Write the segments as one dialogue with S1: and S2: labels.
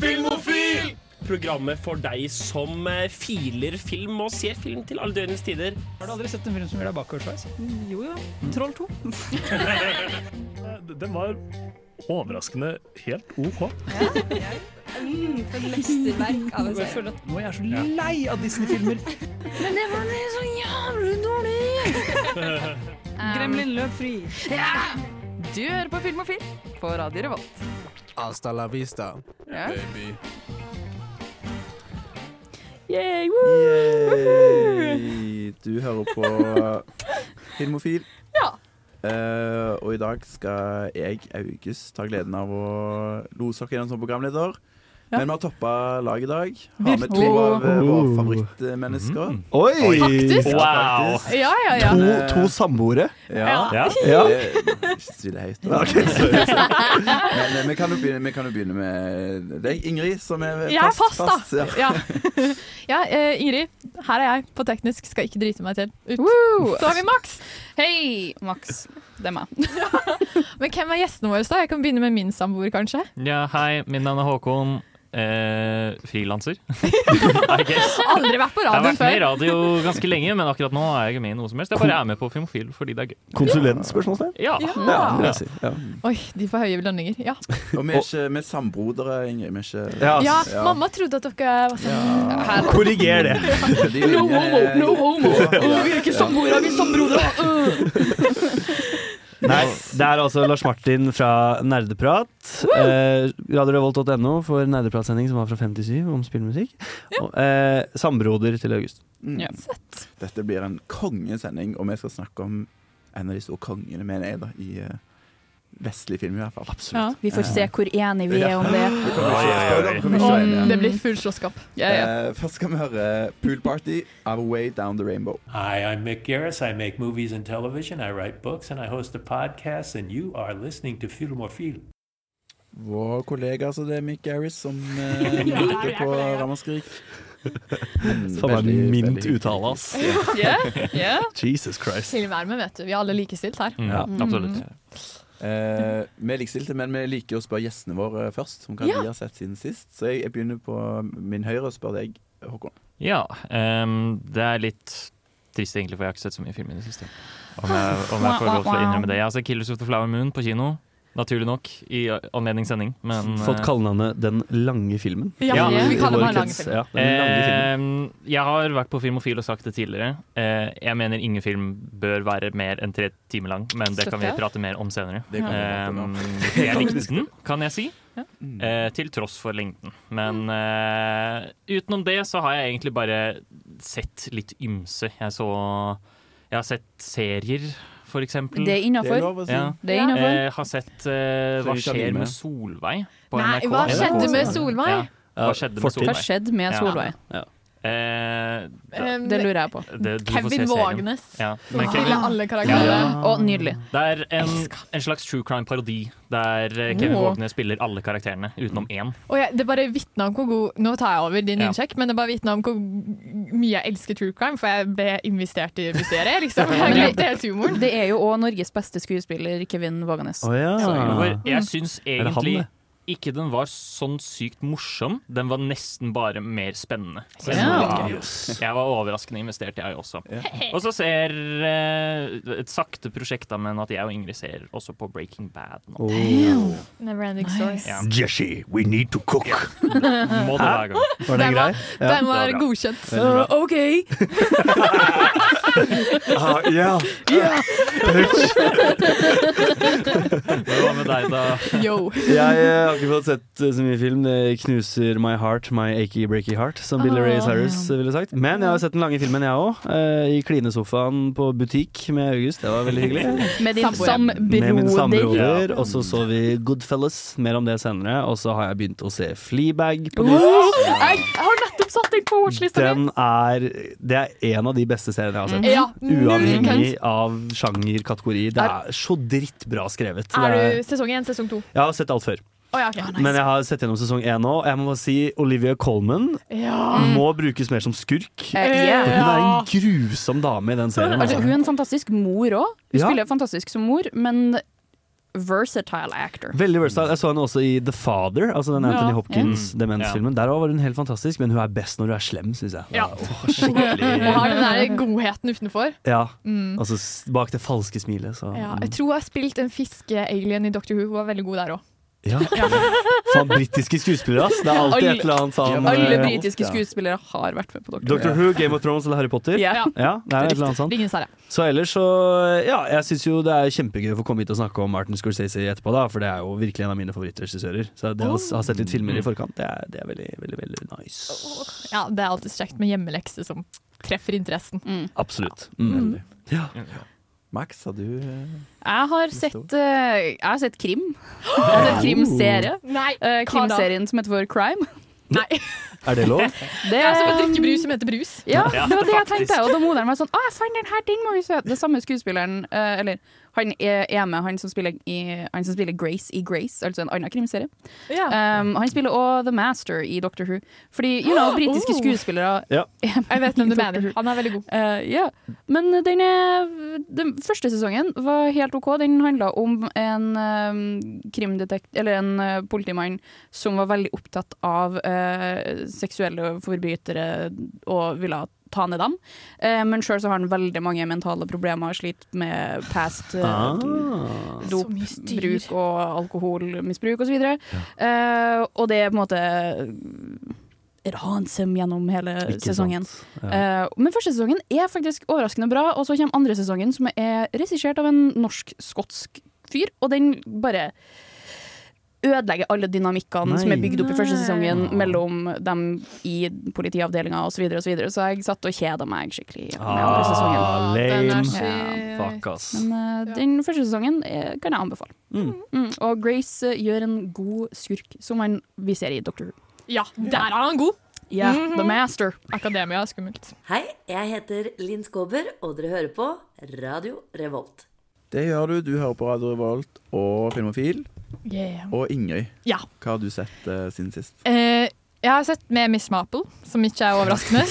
S1: Filmofil!
S2: Programmet for deg som eh, filer film og ser film til alle døgnets tider.
S3: Har du aldri sett en film som gjør deg bakoversveis?
S4: Jo jo. Troll 2.
S5: Eh, Den var overraskende helt OK.
S4: Mm, for et mesterverk av en
S3: Jeg
S4: serie.
S3: føler at nå er jeg så lei av Disney-filmer.
S4: Men det var så jævlig dårlig! Gremlin løp fri.
S6: Du hører på Filmofil på Radio Revolt.
S1: Hasta la vista,
S6: Ja.
S1: baby.
S4: Yay,
S7: Yay! Du hører på Filmofil.
S6: Ja.
S7: Eh, og i dag skal jeg, August, ta gleden av å lose dere gjennom som programleder.
S6: Ja.
S7: Men vi har toppa laget i dag. Har med to
S6: Virkelig.
S7: av eh, våre
S8: Oh.
S7: favorittmennesker.
S8: Oi!
S6: Faktisk?
S7: Ja,
S2: Wow.
S7: faktisk.
S6: Ja, ja, ja.
S8: Mm. To, to samboere.
S7: Eh, Ja.
S5: Ja.
S8: Ja.
S7: Det- Ikke si det høyt. da.
S8: Ok, sorry.
S7: Men eh, vi kan jo begynne, vi kan jo begynne med deg, Ingrid, som er
S6: Jeg er fast, da.
S7: ja.
S6: Ja, ja eh, Ingrid. Her er jeg på teknisk, skal ikke drite meg til. Ut. Så har vi Max.
S9: Hei, Max. Det er meg.
S6: Men hvem er gjestene våre, da? Jeg kan begynne med min samboer, kanskje.
S10: Ja, hei, mitt navn er Håkon. Eh, Frilanser. I guess.
S6: Aldri vært på
S10: Jeg har
S6: radioen
S10: vært med
S6: før.
S10: i radio ganske lenge, men akkurat nå er jeg ikke med i noe som helst. Jeg bare er med på Filmofil fordi det er gøy. Mm.
S8: Konsulent? Spørsmålstegn?
S10: Ja.
S8: Ja, vil
S6: Ja.
S8: jeg si. Ja.
S6: Oi, de får høye lønninger. Ja.
S7: Og vi er ikke vi er sambrodere, Ingrid. Vi er ikke
S8: Ja.
S6: ja,
S7: Ja.
S6: mamma trodde at dere var sånn sammen.
S9: Her.
S8: Korriger det.
S7: De vil,
S9: No homo,
S7: eh,
S9: no homo.
S7: Ja.
S9: Vi er ikke samboere, vi er sambrodere.
S8: Nei, det er altså Lars Martin fra Nerdeprat. Eh, RadioRevolt.no for nerdepratsending som var fra 5 til 7 om spillmusikk. Og, eh, sambroder til August.
S7: Mm.
S9: Ja.
S7: Dette blir en kongesending, og vi skal snakke om en av de store kongene, mener jeg, da, i eh, vestlig film i hvert fall.
S6: Ja.
S4: Vi får se hvor enige vi er om det.
S7: Vi kommer ikke- spoiler, vi kommer ikke
S6: Om
S7: inn, ja.
S6: det blir full slåsskamp.
S7: Eh, først skal vi høre Pool Party, Our Way Down the Rainbow.
S1: Hi, I'm Mick Garris. I make movies and television. I write books and I host a podcast. And you are listening to Filmofil.
S7: Vår kollega, altså det er Mick Garris, som eh, virker på Ramaskrik.
S8: Mm, Faen meg mint uttale, ass.
S6: Ja.
S8: Jesus Christ.
S6: Til og med, vet du. Vi er alle likestilt her.
S10: Mm,
S7: Ja.
S10: absolutt.
S7: Eh, vi er likestilte, men vi liker å spørre gjestene våre først, som kanskje de har sett siden sist. Så jeg, jeg begynner på min høyre og spør deg, Håkon.
S10: Ja, ehm, det er litt trist egentlig, for jeg har ikke sett så mye film i det siste. Om jeg, om jeg får lov til å innrømme det. Jeg har sett 'Killers of the Flower Moon' på kino, naturlig nok, i anledning sending, men eh,
S8: Mm, Fått kallenavnet Den lange filmen.
S6: Ja,
S10: Ja.
S6: vi kaller
S8: I vår
S6: meg
S8: krets.
S6: Langefilm.
S8: Ja, den lange filmen.
S10: Eh, jeg har vært på Filmofil og sagt det tidligere. Eh, jeg mener ingen film bør være mer enn tre timer lang, men det kan vi
S6: Støtter jeg.
S10: prate mer om senere.
S7: Det kan vi prate mer om. Mm.
S10: Eh, jeg likte den, kan jeg si, eh, til tross for lengden. Men eh, utenom det så har jeg egentlig bare sett litt ymse. Jeg så Jeg har sett serier, for eksempel.
S9: Det er
S7: Det er
S9: innafor.
S7: lov å si.
S10: ja.
S9: Det er innafor.
S10: Eh, har sett eh,
S7: Så vi
S10: Hva
S7: kan
S10: skjer
S7: begynne.
S10: med Solveig på
S6: Nei,
S10: NRK.
S6: hva skjedde med
S10: Ja.
S6: Solveig?
S10: Hva skjedde med
S8: Fortid.
S9: Hva
S10: Solveig?
S9: skjedde med
S10: Ja.
S9: Solveig?
S10: Eh, da-
S6: Um,
S9: Det lurer jeg på.
S10: det, du får se
S6: Kevin
S10: serien.
S6: Vågenes.
S10: Ja.
S6: Som
S10: Men Kevin,
S6: spiller alle karakterene.
S9: Å, nydelig.
S10: det er en,
S6: Elsker.
S10: en slags true crime-parodi der eh, Kevin
S9: Åh.
S10: Vågenes spiller alle karakterene utenom
S8: Mm.
S10: én.
S6: Og jeg, det bare vitna om hvor god Nå tar jeg over din
S10: Ja.
S6: innsjekk, men det bare vitna om hvor mye jeg elsker true crime, for jeg ble investert i mysteriet, liksom. Jeg glemte helt humoren.
S9: Det er jo òg Norges beste skuespiller, Kevin Våganes.
S8: Å ja.
S10: Hvor jeg syns
S8: Ah. det han,
S10: egentlig
S8: det?
S10: ikke den var sånn sykt morsom, den var nesten bare mer spennende.
S9: Ja.
S10: Jeg var overraskende investert, jeg også. Og så ser eh, et sakte prosjekt, da, men at jeg og Ingrid ser også på Breaking Bad nå.
S6: Neverending Story.
S10: Ja.
S8: Jesse, we need to cook.
S10: Må det være gang.
S8: Var den
S6: Den var,
S8: grei?
S6: den var
S10: det var bra.
S6: godkjent.
S9: OK!
S8: Ah, ja.
S10: Hva med deg, da?
S6: Yo.
S8: Jeg eh, har ikke fått sett eh, så mye film. Det knuser my heart, my achy breaky heart, som Billy Ray Cyrus eh, ville sagt. Men jeg har sett den lange filmen, jeg òg. I klinesofaen på butikk med August. Det var veldig hyggelig.
S9: Med din
S6: Samboer.
S8: Med min
S9: sambroder.
S8: sambroder. Og så så vi Goodfellas. Mer om det senere. Og så har jeg begynt å se Fleabag på nytt.
S6: Jeg har nettopp satt den på watchlista mi!
S8: Den er Det er en av de beste seriene jeg har sett.
S6: Ja, Mm. null kønt.
S8: Uavhengig av sjanger, kategori. Det er så drittbra skrevet.
S6: Er
S8: Det
S6: du sesong én, sesong to?
S8: jeg har sett alt før,
S6: Å ja, ok.
S8: men jeg har sett gjennom sesong én nå. og Jeg må bare si Olivia Colman
S6: Ja.
S8: må brukes mer som skurk.
S9: Eh, yeah.
S8: Hun er en grusom dame i den serien.
S9: Altså,
S8: Altså.
S9: hun er en fantastisk mor òg. Hun
S8: Ja.
S9: spiller fantastisk som mor, men versatile actor.
S8: Veldig versatile. Jeg så henne også i The Father, altså den Anthony
S6: Ja.
S8: Hopkins-demensfilmen. Der også var hun helt fantastisk, men hun er best når du er slem, syns jeg.
S6: Ja.
S8: Åh, skikkelig.
S6: Hun har den der godheten utenfor.
S8: Ja,
S6: Mm.
S8: altså s- bak det falske smilet, så
S6: Ja, jeg tror hun har spilt en fiskealien i Doctor Who. Hun var veldig god der òg.
S8: Ja. Faen, britiske skuespillere, ass. Det er alltid
S9: Alle-
S8: et eller annet sånn
S9: Alle
S8: eh,
S9: britiske skuespillere har vært med på Doctor
S8: Doctor Who, Game of Thrones eller Harry Potter.
S9: Ja.
S8: Ja, det er et eller annet sånt.
S6: Ringenes herre.
S8: Så ellers så Ja, jeg syns jo det er kjempegøy å få komme hit og snakke om Martin Scorsese etterpå, da, for det er jo virkelig en av mine favorittregissører. Så det å s- ha sett litt filmer i forkant, det er, det er veldig, veldig, veldig nice.
S6: Ja, det er alltid kjekt med hjemmelekse som treffer interessen.
S9: Mm.
S8: Absolutt. Mm. Ja.
S7: Max, har du eh,
S9: Jeg har sett, eh, jeg har sett krim. Jeg har sett krimserie.
S6: Nei,
S7: Oh.
S9: Eh, krimserien som heter For Crime.
S6: Nei.
S8: Er det lov?
S9: Det
S6: Det er som å drikke brus som heter brus.
S9: Ja,
S10: Ja,
S9: det var det jeg
S10: faktisk.
S9: tenkte. Og da moderen var sånn Å, jeg fant den her, den må vi se. Det samme skuespilleren, eh, eller han er er med, han som spiller, i, han som spiller Grace i Grace, altså en annen krimserie.
S6: Eh,
S9: Um, han spiller også The Master i Doctor Who. Fordi, you know, britiske
S6: Oh.
S9: skuespillere
S8: Ja.
S9: er med
S6: Jeg vet hvem
S9: i
S6: du
S9: Doctor
S6: mener.
S9: Who.
S6: Han er veldig god.
S9: Eh, ja. Men den, er, den første sesongen var helt OK. Den handla om en eh, krimdetekt... Eller en eh, politimann som var veldig opptatt av eh, seksuelle forbrytere og ville ta ned dem. Eh, men sjøl så har han veldig mange mentale problemer, sliter med past eh,
S8: Ah.
S6: Så
S9: dop,
S6: mye styr.
S9: bruk og alkoholmisbruk osv. videre Eh, og det er på en måte ransem gjennom hele
S8: Ikke
S9: sesongen.
S8: sant. Ja.
S9: Eh, men første sesongen er faktisk overraskende bra, og så kommer andre sesongen, som er regissert av en norsk-skotsk fyr, og den bare ødelegger alle dynamikkene
S8: Nei.
S9: som er bygd opp i første sesongen
S8: Nei.
S9: mellom dem i politiavdelinga osv., så, videre, så jeg satt og kjeda meg skikkelig med andre sesongen.
S8: Ah,
S6: Den er
S8: lame.
S6: så-
S9: Ja,
S8: Fuck, ass.
S9: Men eh,
S6: Ja.
S9: den første sesongen eh, kan jeg anbefale.
S8: Mm.
S9: Mm. Og Grace eh, gjør en god skurk, som han vi ser i Doctor Who.
S6: Ja, der er han god.
S9: Yeah, The Master.
S6: Akademia er skummelt.
S11: Hei, jeg heter Linn Skåber, og dere hører på Radio Revolt.
S7: Det gjør du. Du hører på Radio Revolt og Filmofil.
S6: Yeah.
S7: Og Ingøy,
S6: Ja.
S7: hva har du sett eh, siden sist?
S6: Eh, jeg har sett med Miss Maple, som ikke er overraskende.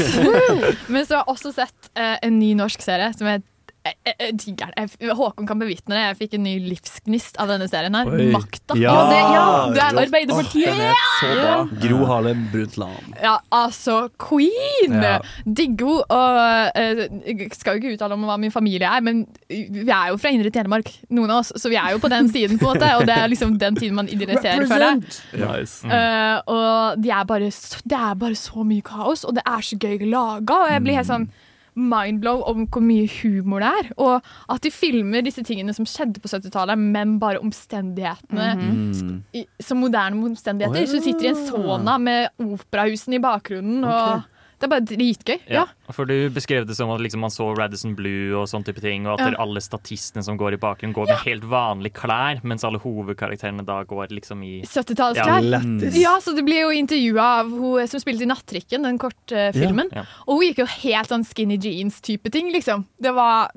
S6: Men så har jeg også sett eh, en ny norsk serie som jeg, jeg, jeg, jeg eh, digger. den. Jeg, Håkon kan bevitne det. Jeg fikk en ny livsgnist av denne serien her.
S8: Oi.
S6: Makta.
S8: Ja.
S6: Og det, ja, det er
S7: Åh,
S6: Arbeiderpartiet.
S7: den er så bra.
S8: Gro Harlem Brundtland.
S6: Ja, altså queen!
S8: Ja.
S6: Digger hun. Og eh, jeg skal jo ikke uttale om hva min familie er, men vi er jo fra Indre Telemark, noen av oss, så vi er jo på den siden, på en måte. Og det er liksom den tiden man idealiserer, føler jeg.
S8: Nice.
S6: Eh, og de er bare, så- det er bare så mye kaos, og det er så gøy laga. Og jeg blir helt sånn mindblow om hvor mye humor det er. Og at de filmer disse tingene som skjedde på 70-tallet, men bare omstendighetene
S7: Mm.
S6: i, som moderne omstendigheter. Så du sitter i en sauna med operahusene i bakgrunnen, og det er bare dritgøy. Ja.
S10: Ja, for Du beskrev det som at liksom man så Radisson Blue og sånn type ting, og at
S6: Ja.
S10: dere alle statistene som går i bakgrunnen, går med helt vanlige klær, mens alle hovedkarakterene da går liksom i
S6: 70-tallsklær. Ja,
S8: Lættis.
S6: så det blir jo intervjua av hun som spilte i Nattrikken, den kortfilmen.
S10: Ja. Ja.
S6: Og hun gikk jo helt sånn skinny jeans-type ting, liksom. Det var,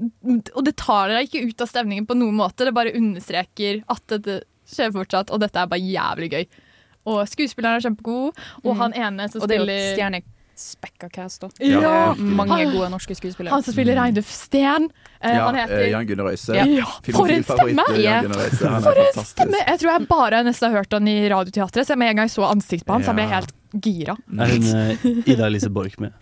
S6: og det tar deg ikke ut av stemningen på noen måte, det bare understreker at dette skjer fortsatt, og dette er bare jævlig gøy. Og skuespilleren er kjempegod, og
S9: Mm.
S6: han ene som
S9: Og det er jo
S6: spiller
S9: stjernespekka cast òg.
S6: Ja. Ah.
S9: Mange gode norske skuespillere.
S6: Han som spiller Reidulf Steen. Eh,
S7: Mm. Ja,
S6: han
S7: eh,
S6: heter
S7: Jan Gunnar Røise.
S6: Ja, for en
S7: Filmofil-favoritt,
S6: stemme!
S7: eh,
S9: Ja.
S7: Jan Gunnar Røise. Han er
S6: For en
S7: fantastisk.
S6: stemme! Jeg tror jeg bare nesten har hørt han i Radioteatret, så jeg med en gang så ansiktet på han, så jeg ble
S7: Ja.
S6: helt gira.
S8: Er hun eh, Ida Elise Borch med?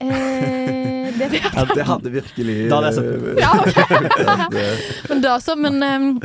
S6: Eh, det vet jeg.
S7: Ja, det hadde virkelig
S8: Da hadde jeg sett den.
S6: Ja, ok.
S7: det.
S6: Men det er altså, men ehm,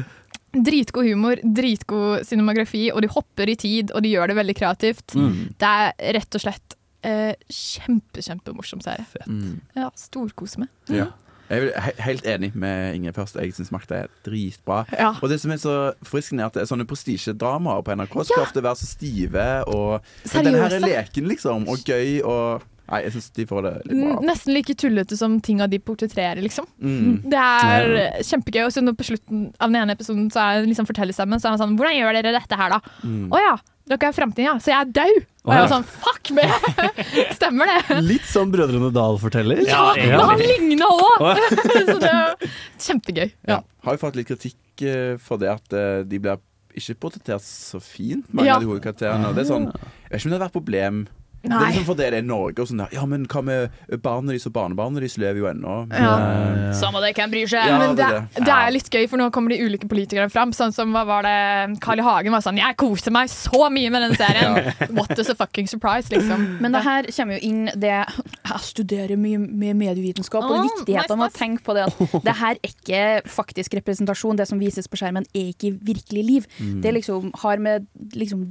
S6: dritgod humor, dritgod cinematografi, og de hopper i tid, og de gjør det veldig kreativt.
S7: Mm.
S6: Det er rett og slett eh, kjempe, kjempemorsom serie.
S7: Mm.
S6: Ja, storkos med.
S7: Ja. Jeg er he- helt enig med Inger først. Jeg syns Makta er dritbra.
S6: Ja.
S7: Og det som er så forfriskende, er at det er sånne prestisjedramaer på NRK skal
S6: Ja.
S7: ofte være så stive og
S6: Seriøse.
S7: Men denne her er leken, liksom, og gøy og Nei, jeg syns de får det litt
S6: N-
S7: bra.
S6: Nesten like tullete som tinga de portretterer, liksom.
S7: Mm.
S6: Det er kjempegøy. Og så nå på slutten av den ene episoden så er det liksom fortellerstemmen så er han sånn Hvordan gjør dere dette her, da?
S7: Mm.
S6: Å ja, dere er framtiden, ja. Så jeg er dau! Og jeg
S8: Å,
S6: var sånn Fuck meg! Stemmer det?
S8: Litt som Brødrene Dal forteller.
S10: Ja,
S6: Men
S10: egentlig.
S6: han ligna òg! så det er kjempegøy. Ja.
S7: Ja. Har jo fått litt kritikk eh, for det at eh, de blir ikke portrettert så fint, mange
S6: Ja.
S7: av de hovedkarakterene. Og det er sånn Jeg vet ikke om det har vært problem Det er liksom fordi det er Norge og sånn der. Ja, men hva med barna deres og barnebarna deres lever jo ennå. Men, eh,
S4: Samme det, hvem bryr seg?
S7: Ja,
S6: Men
S7: det
S6: det,
S7: er det.
S6: det er litt gøy, for nå kommer de ulike politikerne fram. Sånn som hva var det Carl I. Hagen var sånn Jeg koser meg så mye med den serien! What is a fucking surprise, liksom.
S9: Men det her kommer jo inn det Jeg studerer mye med medievitenskap, og
S6: Åh,
S9: det viktigheten med
S6: Ah, nice,
S9: å tenke på det at det her er ikke faktisk representasjon. Det som vises på skjermen, er ikke virkelig liv.
S4: Mm.
S9: Det liksom har med liksom,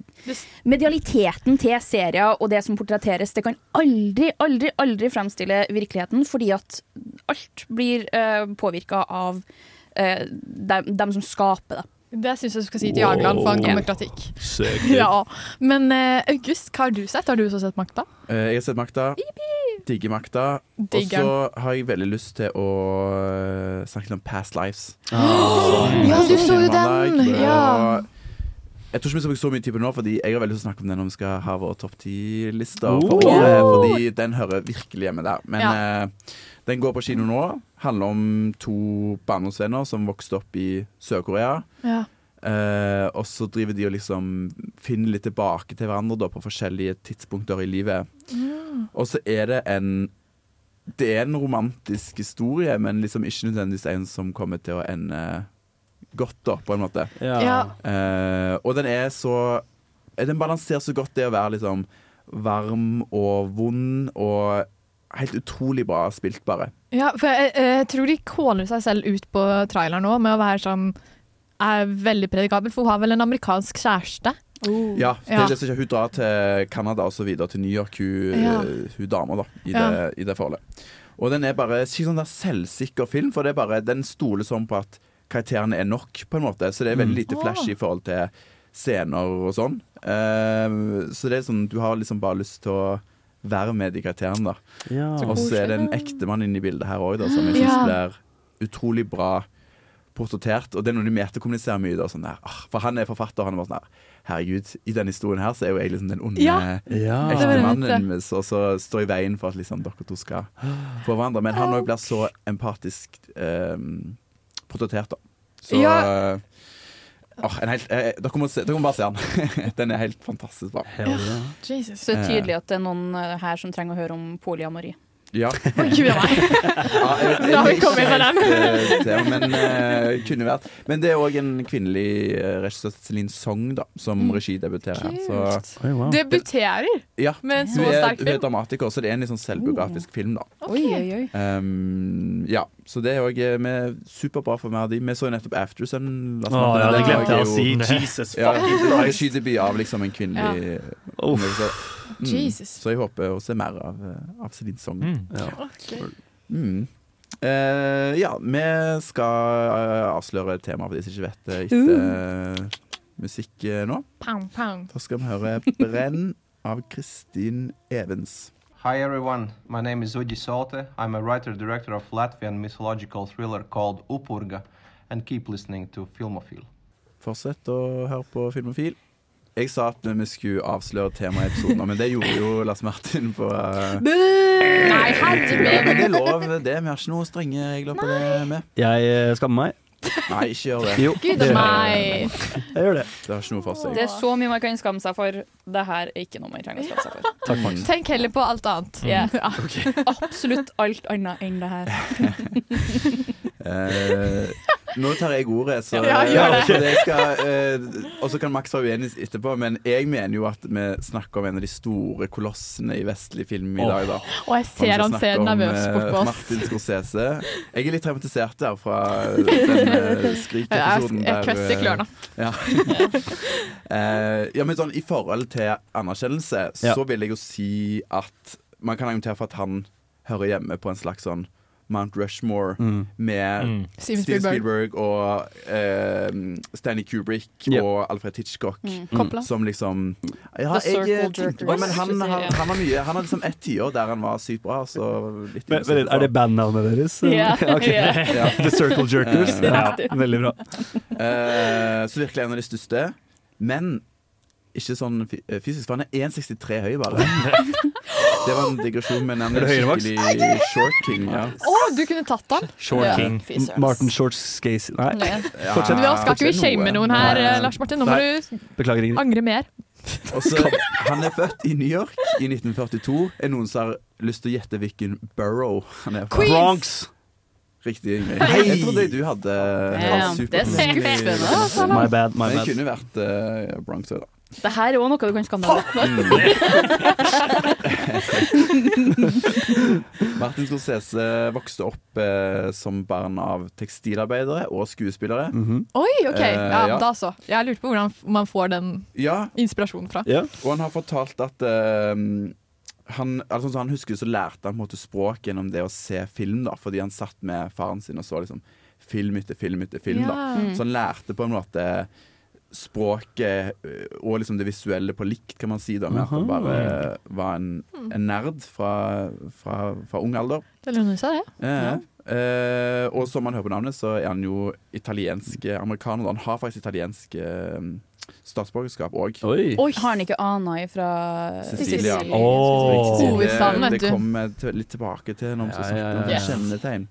S9: Medialiteten til serier og det som portretteres, det kan aldri, aldri, aldri fremstille virkeligheten, fordi at alt blir uh, påvirka av eh, dem, dem som skaper det.
S6: Det syns jeg du skal si til Jarland, for han kommer med kritikk.
S7: Søkt.
S6: Ja. Men eh, August, hva har du sett? Har du også sett Makta?
S7: eh, jeg har sett makta. Digger makta. Og
S6: Digger
S7: så har jeg veldig lyst til å eh, snakke litt om Past Lives.
S6: Ja, du så jo
S7: Mandag,
S6: den!
S7: og
S6: Ja.
S7: Jeg tror ikke vi skal bruke så mye tid på det nå, Fordi jeg har veldig lyst til å snakke om den når vi skal ha vår topp ti-lister.
S8: Oh.
S7: Fordi den hører virkelig hjemme der. Men
S8: Ja.
S7: eh, den går på kino nå. Handler om to barndomsvenner som vokste opp i Sør-Korea.
S6: Ja.
S7: Eh, og så driver de og liksom finner litt tilbake til hverandre da, på forskjellige tidspunkter i livet. Og så er det en Det er en romantisk historie, men liksom ikke nødvendigvis en som kommer til å ende godt, da, på en måte.
S8: Ja. Ja.
S7: Eh, og den er så Den balanserer så godt det å være liksom varm og vond og helt utrolig bra spilt, bare.
S6: Ja, for jeg, eh, jeg tror de kåler seg selv ut på traileren nå med å være sånn er veldig predikabel, for hun har vel en amerikansk kjæreste. Oh.
S7: Ja, det
S6: Mm. Ja.
S7: er det som skjer. Hun drar til Canada og så videre, til New York, hun, eh,
S6: Ja.
S7: hun dama, da, i det,
S6: Ja.
S7: i det forholdet. Og den er bare ikke sånn der selvsikker film, for det er bare, den stoler sånn på at karakterene er nok, på en måte. Så det er veldig
S6: Mm.
S7: lite
S8: Åh.
S7: flash i forhold til scener og sånn. Eh, så det er sånn, du har liksom bare lyst til å være med de karakterene, da.
S8: Ja. Så
S7: Og så er det en ektemann inne i bildet her òg, som jeg
S8: Ja.
S7: syns blir utrolig bra portrettert. Og det er noe de metakommuniserer mye. Da, sånn der, ah, for han er forfatter, og han er bare sånn der Herregud, i denne historien her så er jo jeg liksom den onde
S8: Ja. Ja. Det var det
S7: ektemannen
S8: mitt, det.
S7: min, så- så står i veien for at liksom, dere to skal få hverandre. Men han òg blir så empatisk eh, portrettert, da. Så
S6: Ja.
S7: eh, ah, en helt, eh, dere, må se, dere må bare se han. den er helt fantastisk bra.
S6: Jesus.
S9: Så det er tydelig at det er noen eh, her som trenger å høre om polyamori.
S7: Ja.
S6: Gud a meg.
S7: Da
S6: Da har vi kommet inn på den.
S7: Men eh, kunne vært. Men det er òg en kvinnelig eh, regissør, Celine Song, da, som
S6: Mm.
S7: regidebuterer her. Så,
S6: Debuterer
S7: ja.
S6: med en
S7: hun
S6: så
S7: er,
S6: sterk
S7: hun er
S6: film. Mm.
S7: dramatiker, så det er en litt sånn selvbiografisk film, da.
S6: Oi, oi, oi.
S7: Um, ja, så det er òg superbra for meg. Vi så jo nettopp After Sun. last
S5: Å,
S7: month.
S5: ja, det glemte jeg å
S7: Det er
S5: si.
S7: jo-
S5: Jesus
S7: Ja,
S5: fucking
S7: det var
S5: Christ.
S7: Regidebut av liksom en kvinnelig Så,
S6: Jesus.
S7: Så jeg håper å se mer av, eh, av Celine Song. Ja.
S6: Ok.
S7: Mm. Eh, ja, vi skal eh, avsløre temaet for de som ikke vet det, etter eh, musikk eh, nå.
S6: Pound, pound.
S7: Da skal vi høre 'Brenn' av Kristin Evens.
S12: Hi everyone, my name is Uji Solte. I'm a writer director of Latvian mythological thriller called Upurga, and keep listening to Filmophile.
S7: Fortsett å høre på Filmofil. Jeg sa at vi skulle avsløre temaet i episoden, men det gjorde jo Lars Martin på eh,
S6: Nei,
S7: ja, Men det er
S6: herregud.
S7: lov, det. Vi har ikke noen strenge regler på det. med
S8: Jeg eh, skammer meg.
S7: Nei, ikke gjør det.
S8: Jo,
S9: Gud
S8: det
S9: a
S8: gjør
S9: meg.
S8: jeg. Jeg gjør det.
S7: Det har ikke noe for seg.
S9: Det er så mye man kan skamme seg for. Det her er ikke noe man trenger å skamme seg for.
S7: Takk, Max.
S6: Tenk heller på alt annet.
S9: Ja.
S6: Ja.
S9: Absolutt alt annet enn det her.
S7: Eh, nå tar jeg ordet, så
S9: Ja, gjør det.
S7: for jeg skal, eh, Og så kan Max være uenig etterpå, men jeg mener jo at vi snakker om en av de store kolossene i vestlig film i
S6: Åh.
S7: dag, da.
S6: Og jeg ser
S7: vi skal
S6: han ser
S7: snakke om,
S6: nervøs
S7: eh,
S6: bort på oss.
S7: Martin Scorsese. Jeg er litt traumatisert der fra den eh,
S6: Jeg-
S7: skrikepisoden.
S6: jeg
S7: der,
S6: kløss i
S7: eh,
S6: klørne.
S7: Ja. Eh, ja, men sånn i forhold til anerkjennelse, så vil jeg jo si at man kan argumentere for at han hører hjemme på en slags sånn Mount Rushmore
S8: Mm.
S7: med
S8: Mm.
S7: Steven
S8: Steven
S7: Spielberg,
S8: Spielberg
S7: og eh, Stanley Kubrick og Alfred Hitchcock,
S8: Mm. Coppola.
S7: som liksom ja,
S8: The Circle
S7: jeg,
S8: Jerkers,
S7: tenkte, Å, men han,
S8: regissør,
S7: han,
S8: ja.
S7: han har mye Han har liksom ett tiår der han var sykt bra, så litt
S8: Men, men, er det bandnavnet deres?
S7: Ja.
S8: Ok.
S7: Ja.
S8: The Circle Jerkers. Ja.
S7: Ja.
S8: Veldig bra.
S7: Eh, så virkelig en av de største. Men ikke sånn fy- eh, fysisk, for han er 1,63 høy, bare. Det var en digresjon, men han
S8: Er
S7: er
S8: det høyere, Max?
S7: skikkelig short king. Ja.
S6: Å, du kunne tatt han!
S7: Short
S6: Ja.
S7: king.
S6: Fy søren.
S8: Martin Shorts Scase Nei,
S6: Nei.
S8: fortsett.
S6: Nå skal ikke vi shame noen her,
S8: Nei.
S6: eh, Lars Martin. Nå må
S8: Nei.
S6: du
S8: Beklager, Ingrid.
S6: angre mer.
S7: Og så, han er født i New York i 1942. Er noen som har lyst til å gjette hvilken borough han er fra?
S8: Queens! Bronx!
S7: Riktig. Ingrid.
S8: Hei!
S7: Jeg trodde du hadde
S9: Ja,
S7: superkommende.
S9: det er skuffende, altså.
S8: My bad, my
S7: Men
S8: bad.
S7: det kunne vært eh, Bronx òg, da.
S9: Det her er òg noe du kan skamme deg over.
S7: Martin Scorsese vokste opp eh, som barn av tekstilarbeidere og skuespillere.
S8: Mhm.
S6: Oi, OK.
S7: Eh,
S6: Ja,
S7: ja.
S6: da så. Jeg lurte på hvordan f- man får den
S7: Ja,
S6: inspirasjonen fra.
S7: Og han har fortalt at eh, han, altså, sånn han husker så lærte han på en måte språk gjennom det å se film, da, fordi han satt med faren sin og så liksom, film etter film etter film.
S13: Ja.
S7: Da.
S13: Mm.
S7: Så han lærte på en måte språket eh, og liksom det visuelle på likt, kan man si, da, med at
S13: Aha.
S7: han bare var en, en nerd fra, fra, fra ung alder.
S6: Det lønner seg, det.
S7: Ja. Eh, og som man hører på navnet, så er han jo italiensk eh, amerikaner. da. Han har faktisk italiensk eh, statsborgerskap òg.
S9: Oi, har han ikke ana ifra
S7: Cecilia.
S8: Åh.
S7: Cecilia.
S8: Hovedstaden, vet
S7: Det,
S8: du.
S7: det kommer jeg til- litt tilbake til når vi skal
S8: Ja, ja,
S7: snakke om
S8: ja.
S7: kjennetegn.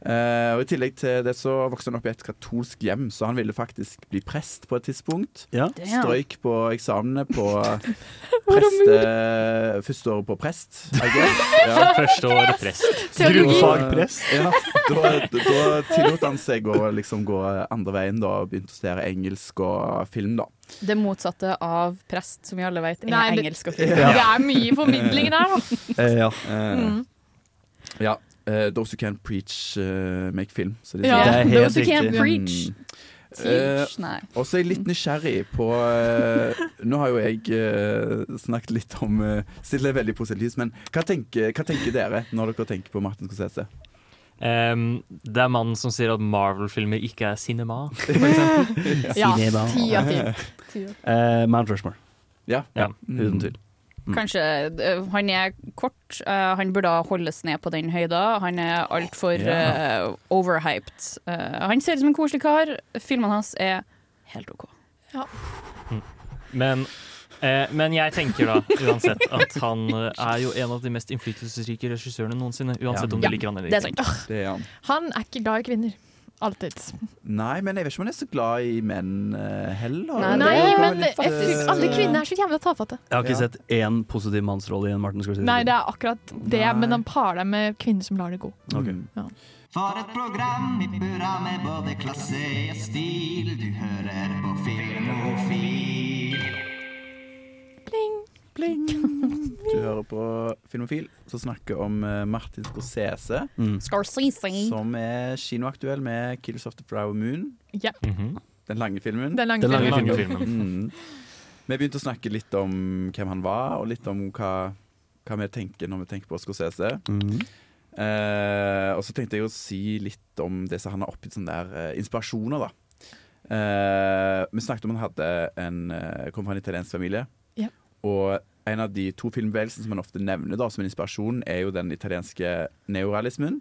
S7: Eh, og I tillegg til det så vokste han opp i et katolsk hjem, så han ville faktisk bli prest på et tidspunkt.
S13: Damn.
S7: Strøyk på eksamene på prest, eh, første året på prest. I guess.
S10: Første år prest.
S13: Teologi.
S10: Grunnfagprest.
S7: Ja, da, da tillot han seg å liksom gå andre veien da, og begynte å studere engelsk og film, da.
S9: Det motsatte av prest, som vi alle vet er
S6: Nei, det-
S9: engelsk og
S7: Ja.
S9: fint.
S6: Det er mye formidling der, da.
S8: Eh,
S7: ja.
S6: Mm.
S7: ja. eh, those who can preach, eh, make film. Så
S9: Ja,
S7: sier.
S9: Det er helt those who can't riktig. preach,
S7: Mm.
S9: teach,
S7: Eh,
S9: nei.
S7: og så er jeg
S6: Mm.
S7: litt nysgjerrig på eh, Nå har jo jeg eh, snakket litt om uh, Stilt deg veldig positivt, lys, men hva tenker, hva tenker dere når dere tenker på Martin Scorsese?
S10: Ehm, det er mannen som sier at Marvel-filmer ikke er cinema, for eksempel.
S9: Ja,
S8: Cinema.
S9: ti av ti. Ti av
S8: Eh, Mount Rushmore.
S7: Ja. Mm.
S8: Uten tvil.
S9: Kanskje eh, Han er kort, eh, han burde holdes ned på den høyda. Han er altfor
S8: Ja.
S9: uh, overhyped. Eh, han ser ut som en koselig kar. Filmene hans er helt OK.
S10: Men, eh, men jeg tenker da uansett at han eh, er jo en av de mest innflytelsesrike regissørene noensinne. Uansett om du
S6: Ja,
S10: liker han eller
S6: det
S10: ikke.
S6: er sant.
S7: Det er han.
S6: Han er ikke glad i kvinner. Alltid.
S7: Nei, men jeg vet ikke om han er så glad i menn eh, heller.
S6: Nei,
S7: Det var
S6: men
S7: litt,
S6: jeg
S7: eh,
S6: tror alle kvinner er så jævla tafatte.
S8: Jeg har ikke
S7: Ja.
S8: sett én positiv mannsrolle i en Martin Scorsese.
S6: Nei, det er akkurat det, men han parer deg med kvinner som lar det gå.
S8: Ok.
S7: Mm.
S6: Ja.
S14: For et program i burra med både klasse og stil. Du hører på Filmofil.
S7: Du hører på Filmofil, som snakker om eh, Martin Scorsese.
S9: Scorsese.
S7: Som er kinoaktuell med 'Killers of the Flower Moon'.
S6: Yep.
S10: Mhm.
S7: Den lange filmen.
S6: Den lange Den lange filmen.
S7: Mm. Vi begynte å snakke litt om hvem han var, og litt om hva, hva vi tenker når vi tenker på Scorsese.
S8: Mm.
S7: Eh, og så tenkte jeg å si litt om det som han har oppgitt sånne der eh, inspirasjoner, da. Eh, vi snakket om han hadde en, eh, kom fra en italiensk familie.
S6: Ja.
S7: Og en av de to filmbevegelsene som han ofte nevner da, som en inspirasjon, er jo den italienske neorealismen.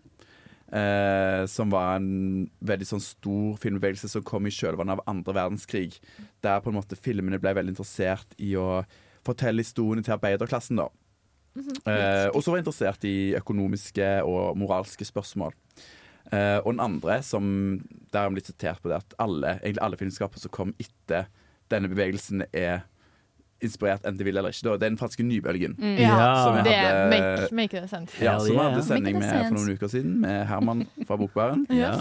S7: Eh, som var en veldig sånn stor filmbevegelse som kom i kjølvannet av andre verdenskrig. Der på en måte filmene ble veldig interessert i å fortelle historiene til arbeiderklassen. da. Eh, og så var jeg interessert i økonomiske og moralske spørsmål. Eh, og den andre, som der har blitt sitert på det, at alle, egentlig alle filmskapere som kom etter denne bevegelsen, er inspirert enten de vil eller ikke. Da. Det er den franske nybølgen.
S6: Mm.
S7: som
S6: Ja,
S7: jeg
S6: det
S7: hadde-
S6: make, make it sense.
S7: ja, som vi hadde sending
S6: Make it
S7: med for
S6: sense.
S7: noen uker siden, med Herman fra Bokbaren.
S6: Ja.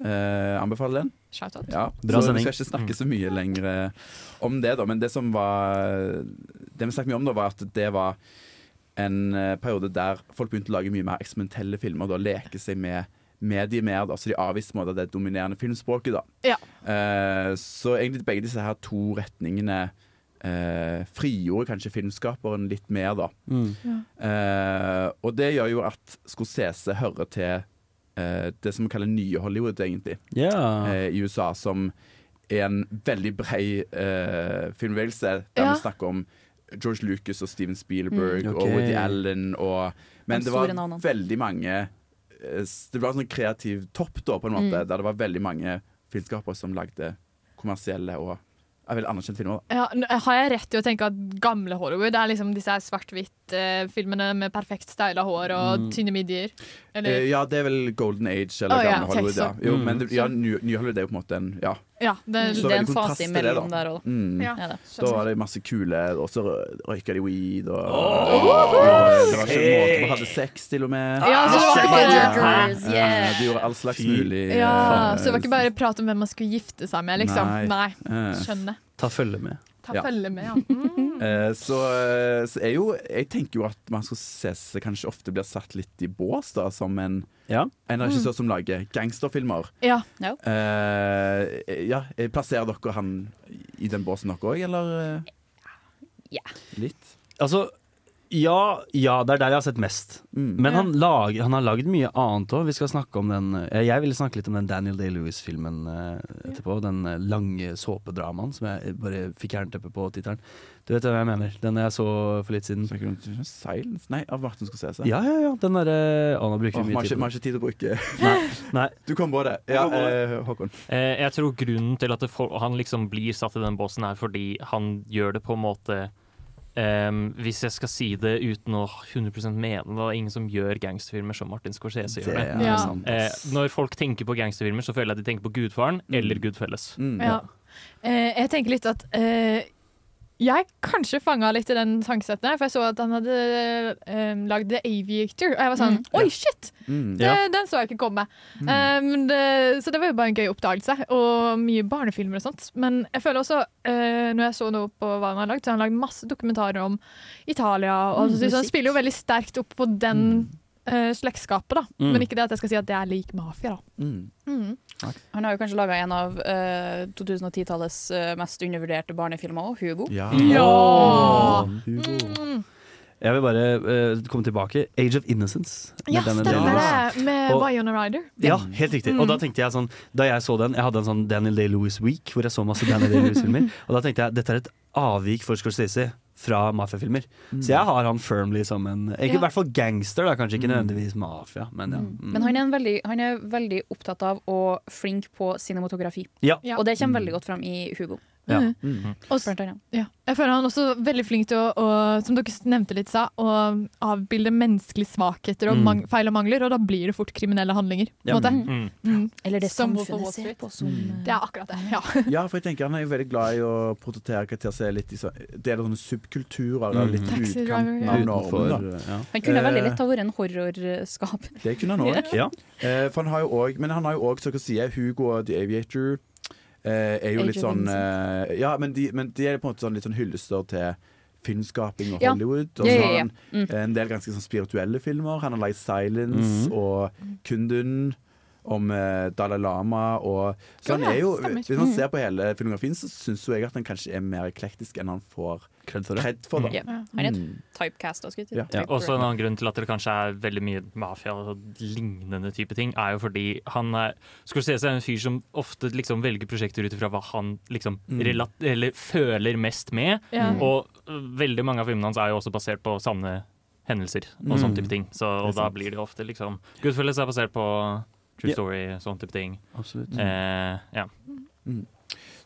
S7: Eh, anbefaler den.
S6: Shout-out.
S7: Ja.
S8: Bra
S7: så
S8: sending. Mm.
S7: Vi skal ikke snakke så mye lenger eh, om det, da. Men det som var Det vi snakket mye om, da, var at det var en eh, periode der folk begynte å lage mye mer eksperimentelle filmer. Da leke seg med medier mer, da, så de avviste på en måte det dominerende filmspråket. da.
S6: Ja.
S7: Eh, så egentlig begge disse her to retningene eh, frigjorde kanskje filmskaperen litt mer, da.
S13: Mm.
S7: Eh, og det gjør jo at Scorsese hører til eh, det som vi kaller nye Hollywood, egentlig,
S8: Ja.
S7: eh, i USA, som er en veldig brei eh, filmbevegelse, der
S13: Ja.
S7: vi snakker om George Lucas og Steven Spielberg
S8: Mm. Ok.
S7: og Woody Allen og Men
S8: De
S7: det var
S8: store navnene.
S7: veldig mange eh, s- Det var en sånn kreativ topp, da, på en måte,
S6: Mm.
S7: der det var veldig mange filmskapere som lagde kommersielle og ja, veldig anerkjente filmer. da.
S6: Ja, n- har jeg rett i å tenke at gamle Hollywood er liksom disse her svart-hvitt-filmene med perfekt styla hår og
S7: Mm.
S6: tynne midjer? Eller?
S7: Eh, ja, det er vel Golden Age eller
S6: Å, ja,
S7: gamle Hollywood.
S6: Texas.
S7: Ja. Jo,
S6: Mm.
S7: men det, ja, ny, ny Hollywood er jo på en måte en ja,
S6: Ja, det,
S7: Så
S9: Det er en
S7: veldig kontrast
S9: fase
S7: til det,
S9: imellom
S7: da.
S9: der òg.
S7: Mm.
S9: Ja, det
S7: da var det masse kuler, og så rø- røyka de weed, og
S14: Åh!
S7: Det var ikke en måte man hadde sex, til og med.
S6: Ja, så det var ikke- Motherfuckers,
S7: Ja,
S9: Eh,
S6: yeah.
S7: De gjorde all slags mulig
S6: Ja,
S7: eh,
S6: så det var ikke bare prat om hvem man skulle gifte seg med, liksom. Nei.
S7: Eh,
S6: Skjønner.
S8: Ta følge med.
S6: Ta
S7: Ja.
S6: følge med, ja. Mm.
S7: Eh, Så, så er jo Jeg tenker jo at man skal se seg kanskje ofte blir satt litt i bås, da, som en, en
S6: Mm.
S7: regissør som lager gangsterfilmer.
S6: Ja.
S7: Eh, ja, plasserer dere han i den båsen dere òg, eller?
S9: Ja.
S7: Litt.
S8: Altså, ja, ja, det er der jeg har sett mest. Men han, lag, han har lagd mye annet òg. Vi skal snakke om den eh, Jeg ville snakke litt om den Daniel Day-Lewis-filmen eh, etterpå. Den eh, lange såpedramaen som jeg eh, bare fikk jernteppe på tittelen. Du vet hva jeg mener? Den jeg så for litt siden.
S7: Snakker du om Silence? Nei, av Martin Scorsese.
S8: Ja, ja, ja. Den derre Å, nå bruker
S7: Åh,
S8: vi
S7: Vi
S8: mye
S7: har
S8: tid
S7: ikke- vi
S8: på
S7: har ikke tid til å bruke
S8: Nei.
S7: Du kom på det. Ja, eh, Håkon.
S10: Eh, Jeg tror grunnen til at det fol- han liksom blir satt i den båsen, er fordi han gjør det på en måte ehm, Hvis jeg skal si det uten å 100 mene det, det er ingen som gjør gangsterfilmer som Martin Scorsese gjør det.
S8: Det er Ja. sant,
S10: Eh,
S8: ass.
S10: når folk tenker på gangsterfilmer, så føler jeg at de tenker på Gudfaren
S8: Mm.
S10: eller Goodfellas.
S6: Ja. Eh, jeg tenker litt at eh, jeg kanskje fanga litt i den tankesetten her, for jeg så at han hadde eh, lagd The Aviator, og jeg var sånn Oi, shit!
S14: Mm.
S6: Det, Den så jeg ikke komme.
S14: Mm.
S6: Eh, men det, så det var jo bare en gøy oppdagelse, og mye barnefilmer og sånt. Men jeg føler også, eh, når jeg så noe på hva han har lagd, så har han lagd masse dokumentarer om Italia, og
S9: Mm,
S6: så, så
S9: musikk.
S6: han spiller jo veldig sterkt opp på den eh, slektskapet, da.
S9: Mm.
S6: Men ikke det at jeg skal si at det er lik mafia, da. Mm.
S9: Han har jo kanskje laga en av eh, 2010-tallets eh, mest undervurderte barnefilmer òg, Hugo.
S8: Ja.
S6: Ja. Mm.
S8: Åh, Hugo. Jeg vil bare eh, komme tilbake. Age of Innocence. med
S6: Ja,
S8: Daniel
S6: stemmer
S8: Day-Lewis.
S6: det. Med
S8: Og-
S6: Wyona Ryder.
S8: Ja, helt riktig. Og da
S6: Mm.
S8: tenkte jeg sånn Da jeg så den, jeg hadde en sånn Daniel Day-Lewis Week, hvor jeg så masse Daniel Day-Lewis-filmer, og da tenkte jeg dette er et avvik for Scorsese fra mafiafilmer. Så jeg har han firmly som en Ikke
S9: Ja.
S8: i hvert fall gangster, da, kanskje ikke nødvendigvis mafia, men ja. Mm.
S9: Men han er, en veldig, han er veldig opptatt av og flink på cinematografi.
S8: Ja.
S9: Og det kommer veldig godt fram i Hugo.
S8: Ja.
S6: Mm. Og s-
S9: Blant annet.
S6: ja. Jeg føler han også er veldig flink til å, å som dere nevnte litt sa, å avbilde menneskelige svakheter og
S9: Mm.
S6: mang feil og mangler, og da blir det fort kriminelle handlinger. På en
S7: Ja.
S6: måte.
S7: Mm.
S9: Eller det
S6: Som
S9: samfunnet
S6: Wolf of Wall
S9: ser
S6: Street.
S9: på som, eh,
S6: Mm. Det er akkurat det, ja.
S7: Ja, for jeg tenker han er jo veldig glad i å portrettere karakterer som er litt i så, Det er sånne subkulturer
S8: Mm.
S7: mm. litt i
S9: Taxi driver,
S7: utkanten
S9: ja.
S7: av
S8: Utenfor,
S7: Norge. da.
S8: ja.
S9: Han kunne veldig
S7: Eh,
S9: lett ha vært en horrorskaper.
S7: Det kunne han òg.
S8: Ja.
S7: Eh, for han har jo også- men han har jo òg, som dere sier, Hugo og The Aviator. eh, er jo
S9: Age
S7: litt
S9: of
S7: sånn eh, Ja, men de, men de er på en måte sånn, litt sånn hyllester til filmskaping og
S9: Ja.
S7: Hollywood. Og
S9: Ja,
S7: så
S9: ja, Mm.
S7: har
S9: ja.
S7: han eh, en del ganske sånn spirituelle filmer. Han har lagd 'Silence'
S8: Mhm.
S7: og 'Kundun'. Om eh, Dalai Lama og Så
S8: Ja,
S7: han er jo
S8: stemmer.
S7: Hvis man
S9: Mm.
S8: Mhm.
S7: ser på hele filmografien, så syns jo jeg at han kanskje er mer eklektisk enn han får
S8: kred
S7: for. da.
S9: Ja. Han er
S7: Mm.
S9: typecast og skutt.
S10: Ja. Også en annen grunn til at det kanskje er veldig mye mafia og lignende type ting, er jo fordi han er Scorsese er en fyr som ofte liksom velger prosjekter ut ifra hva han liksom
S8: Mm.
S10: relat, eller føler mest med.
S8: Ja.
S10: Og øh, veldig mange av filmene hans er jo også basert på sanne hendelser og
S8: Mm.
S10: sånn type ting. Så, og
S8: Det er
S10: da
S8: sant.
S10: blir det jo ofte liksom Goodfellas er basert på
S8: Ja. Mm.
S10: True Story, sånn type ting.
S8: Absolutt.
S10: Eh, ja.
S7: Mm.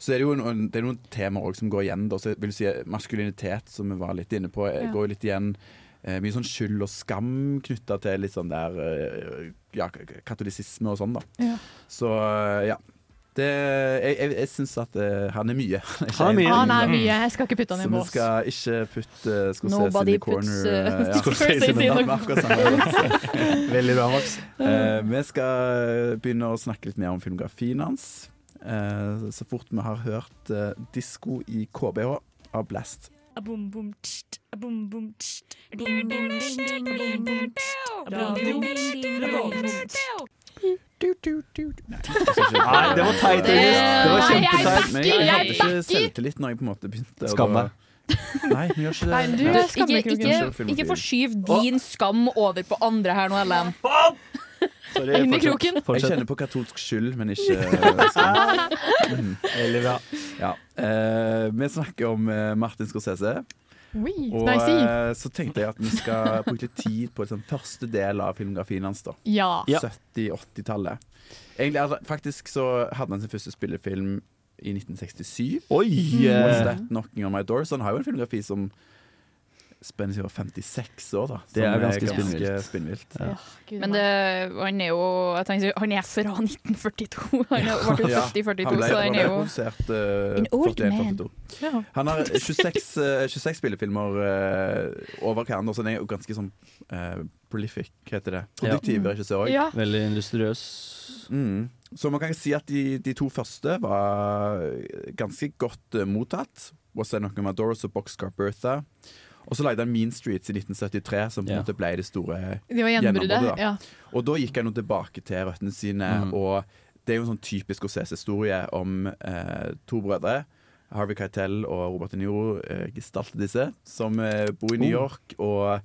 S7: Så er det jo noen, det er noen temaer også som går igjen. Da. Så jeg vil si eh, Maskulinitet, som vi var litt inne på, eh,
S8: Ja.
S7: går jo litt igjen. Eh, mye sånn skyld og skam knytta til litt sånn der eh, ja, k- k- katolisisme og sånn, da.
S6: Ja.
S7: Så eh, ja. Det, jeg jeg, jeg syns at eh, han er mye. Ikke
S6: Han er
S7: en-
S6: mye. Han er Ah, mye. Jeg skal ikke putte han i
S7: Så vi
S6: bås.
S7: skal ikke putte uh, Scorsese in
S6: Nobody
S7: the corner.
S6: puts,
S7: eh,
S6: eh,
S7: ja.
S6: Scorsese in the
S7: Ja,
S6: corner.
S7: akkurat samme.
S8: Veldig bra, Max.
S7: Eh, vi skal eh, begynne å snakke litt mer om filmografien hans. Eh, så fort vi har hørt uh, 'Disko i KBH' av Blast.
S13: Boom, boom, tst, boom, boom, tst. Boom, boom, tst, boom, boom, tst. Radio Revolt.
S7: Nei,
S8: det var teit, August. Det var
S6: Nei, jeg
S7: kjempeteit.
S6: backer,
S7: Men jeg
S6: jeg
S7: hadde ikke
S6: backer.
S7: selvtillit når jeg på en måte begynte. å-
S8: Skam deg.
S7: Nei, vi gjør ikke det.
S9: Nei, du,
S7: Nei.
S9: ikke, ikke, ikke forskyv din skam over på andre her nå, Ellen.
S7: Sorry,
S9: Inn i
S7: fortsett.
S9: kroken.
S7: Jeg kjenner på katolsk skyld, men ikke
S6: Ah.
S7: Mhm. skam.
S8: Veldig bra.
S7: Ja. Eh, vi snakker om eh, Martin Scorsese.
S6: Oi,
S7: Og
S6: nei, si.
S7: eh, så tenkte jeg at vi skal bruke litt tid på liksom, første del av filmografien hans. da
S6: Ja. Ja.
S7: 70-80-tallet. Egentlig er det- Faktisk så hadde han sin første spillefilm i Eh, 1967.
S8: Oi!
S9: Mm.
S8: Mm. eh,
S7: What's That Knocking On My Door? Så han har jo en filmografi som spennes over 56 år, da.
S8: Det
S7: Som
S8: er ganske spinnvilt.
S7: spinnvilt.
S8: Ja.
S9: Men det, han er jo jeg tenker, Han er fra 1942. Han er- ble jo
S7: Ja,
S9: født i
S7: han ble-
S9: 42, så han er jo
S7: produsert, eh,
S9: An old
S7: 41,
S9: man.
S7: 42.
S9: Ja.
S7: Han har 26, eh, 26 spillefilmer eh, over hverandre, så han er jo ganske sånn eh, prolific, heter det. Produktiv regissør òg.
S8: Ja. Veldig industriøs.
S7: Mm. Så man kan si at de, de to første var ganske godt eh, mottatt. Was There Nothing Madoros og Boxcar Bertha. Og så lagde han Mean Streets i 1973, som på en måte ble det store
S6: Det var gjennombruddet,
S7: gjennombruddet, da.
S6: ja.
S7: Og da gikk han jo tilbake til røttene sine,
S6: Mhm.
S7: og det er jo en sånn typisk Scorsese-historie om eh, to brødre. Harvey Keitel og Robert De Niro eh, gestalter disse, som eh, bor i New
S8: Oh.
S7: York og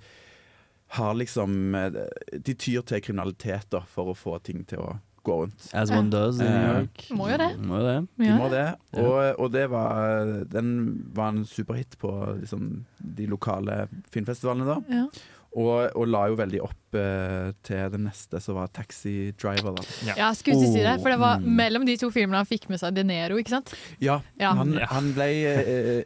S7: har liksom eh, De tyr til kriminalitet da, for å få ting til å gå rundt.
S8: As one does in New
S7: Eh,
S8: York.
S6: Må jo det.
S8: Må jo det.
S7: de
S6: Ja.
S7: må det. Og, og det var, den var en superhit på liksom, de lokale filmfestivalene da.
S6: Ja.
S7: Og, og la jo veldig opp eh, til den neste, som var Taxi Driver. Da.
S6: Ja, skulle til å si det, for det
S7: Mm.
S6: var mellom de to filmene han fikk med seg De Niro, ikke sant?
S7: Ja,
S6: Ja.
S7: Han,
S6: Ja.
S7: han ble eh,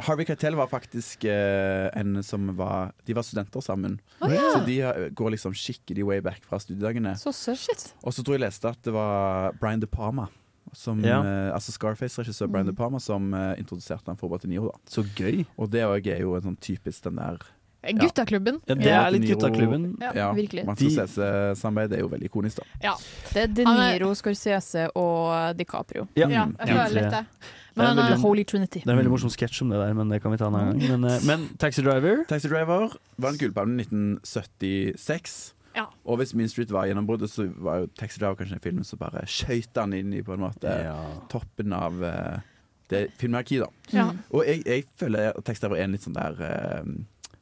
S7: Harvey Keitel var faktisk eh, en som var De var studenter sammen.
S6: Å, ja.
S7: Så de har- går liksom skikkelig way back fra studiedagene.
S9: Så søtt.
S7: Og så tror jeg jeg leste at det var Brian De Palma, som,
S8: Ja.
S7: eh, altså Scarface-regissør Brian
S8: Mm.
S7: De Palma, som eh, introduserte han for Batinio. Da.
S8: Så gøy.
S7: Og det òg er jo en sånn typisk den der
S6: Guttaklubben.
S7: Ja,
S8: det er litt
S7: Niro-
S8: guttaklubben.
S6: Ja,
S7: Ja,
S6: virkelig.
S7: Man skal se seg samarbeid, det er jo veldig ikonisk, da.
S6: Ja.
S9: Det er De Niro, Scorsese og DiCaprio.
S8: Ja. Ja, jeg føler litt det.
S9: Men han
S8: Det er
S9: er
S8: veldig-
S9: Holy Trinity.
S8: Det er en veldig morsom sketsj om det der, men det kan vi ta en annen gang. Men, eh, men Taxi Driver
S7: Taxi Driver var en gullpalme i 1976.
S6: Ja.
S7: Og hvis Mean Street var gjennombruddet, så var jo Taxi Driver kanskje den filmen som bare skøyt han inn i på en måte toppen av eh, det filmarkivet. da.
S6: Ja.
S7: Og jeg, jeg føler at Taxi Driver er en litt sånn der eh,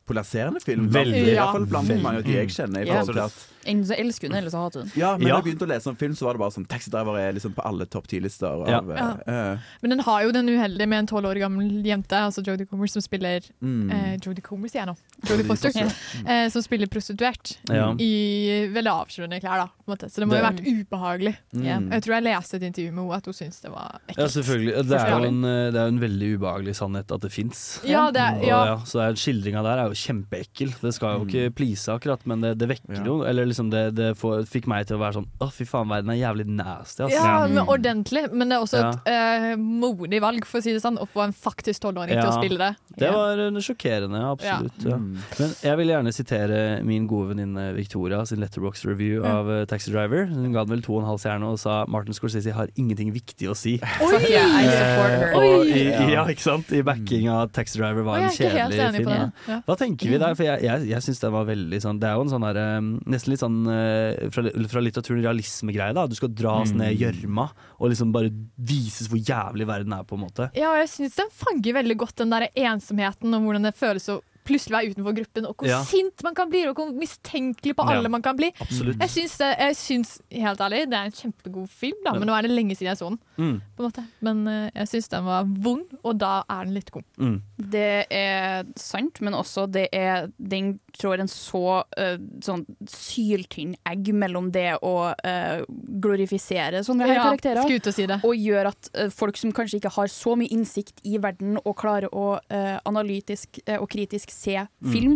S7: polariserende film. blant-
S8: Veldig.
S7: I hvert fall blant
S8: Ja.
S7: mange av de jeg kjenner. I
S9: Ja.
S7: forhold til at
S9: Enten så elsker hun, eller så hater hun.
S7: ja, men da jeg begynte å lese om film, så var det bare sånn Taxi Driver er liksom på alle topp ti-lister.
S8: Ja.
S7: av, eh, eh,
S6: Men den har jo den uheldige med en tolv år gammel jente, altså Jodie Comer, som spiller
S7: Mm.
S6: eh, Jodie Comer, sier jeg nå. Jodie
S7: Jodie
S6: Foster.
S7: Foster.
S6: Eh, som spiller prostituert
S7: Ja.
S6: i veldig avslørende klær, da. På en måte. Så det må jo
S8: Det-
S6: ha vært ubehagelig.
S8: Mm.
S6: Jeg tror jeg leste et intervju med henne at hun syntes det var ekkelt.
S8: Ja, selvfølgelig. Det er, jo
S6: Forståelig.
S8: en, eh, det er jo en veldig ubehagelig sannhet at det fins.
S6: Ja, det er- ja.
S8: så det er, skildringa der er jo kjempeekkel. Det skal jo ikke please akkurat, men det, det vekker jo Eller liksom det, det får, fikk meg til å være sånn Å, fy faen, verden er jævlig nasty, ass.
S6: Ja, men ordentlig, men det er også
S8: Mm. Ja.
S6: et eh, modig valg, for å si det sånn, å få en faktisk tolvåring til å
S8: Ja.
S6: spille det.
S8: Det var eh, sjokkerende, absolutt. Ja. Men jeg vil gjerne sitere min gode venninne Victoria sin letterbox review
S6: Mm.
S8: av eh, Taxi Driver. Hun ga den vel to og en halv stjerne og sa Martin Scorsese har ingenting viktig å si.
S9: Fuck yeah, I support her.
S8: Eh, og i, i, ja, ikke sant? I backing av Taxi Driver
S6: Og
S8: var
S6: jeg
S8: en
S6: er ikke helt
S8: kjedelig
S6: enig
S8: film.
S6: på den. Ja. Mm.
S8: Hva tenker vi der? For jeg, jeg, jeg syns den var veldig sånn Det er jo en sånn der, eh, nesten litt sånn eh, fra, fra litteraturen realismegreie, da. Du skal dras
S6: Mm.
S8: ned i gjørma og liksom bare vises hvor jævlig verden er, på en måte.
S6: Ja, og jeg syns den fanger veldig godt den der ensomheten og hvordan det føles å plutselig være utenfor gruppen, og hvor
S8: Ja.
S6: sint man kan bli, og hvor mistenkelig på
S8: Ja,
S6: alle man kan bli.
S8: absolutt.
S6: Jeg syns, det- jeg syns, helt ærlig, det er en kjempegod film, da, men
S8: Men-
S6: nå er det lenge siden jeg så den.
S8: Mm.
S6: På en måte. Men eh, jeg syns den var vond, og da er den litt god.
S8: Mm.
S9: Det er sant, men også det er Den trår en så eh, sånn syltynn egg mellom det å eh, glorifisere sånne her
S6: Ja,
S9: karakterer,
S6: skulle til å si det.
S9: og gjør at eh, folk som kanskje ikke har så mye innsikt i verden og klarer å eh, analytisk eh, og kritisk se
S13: Mm.
S9: film,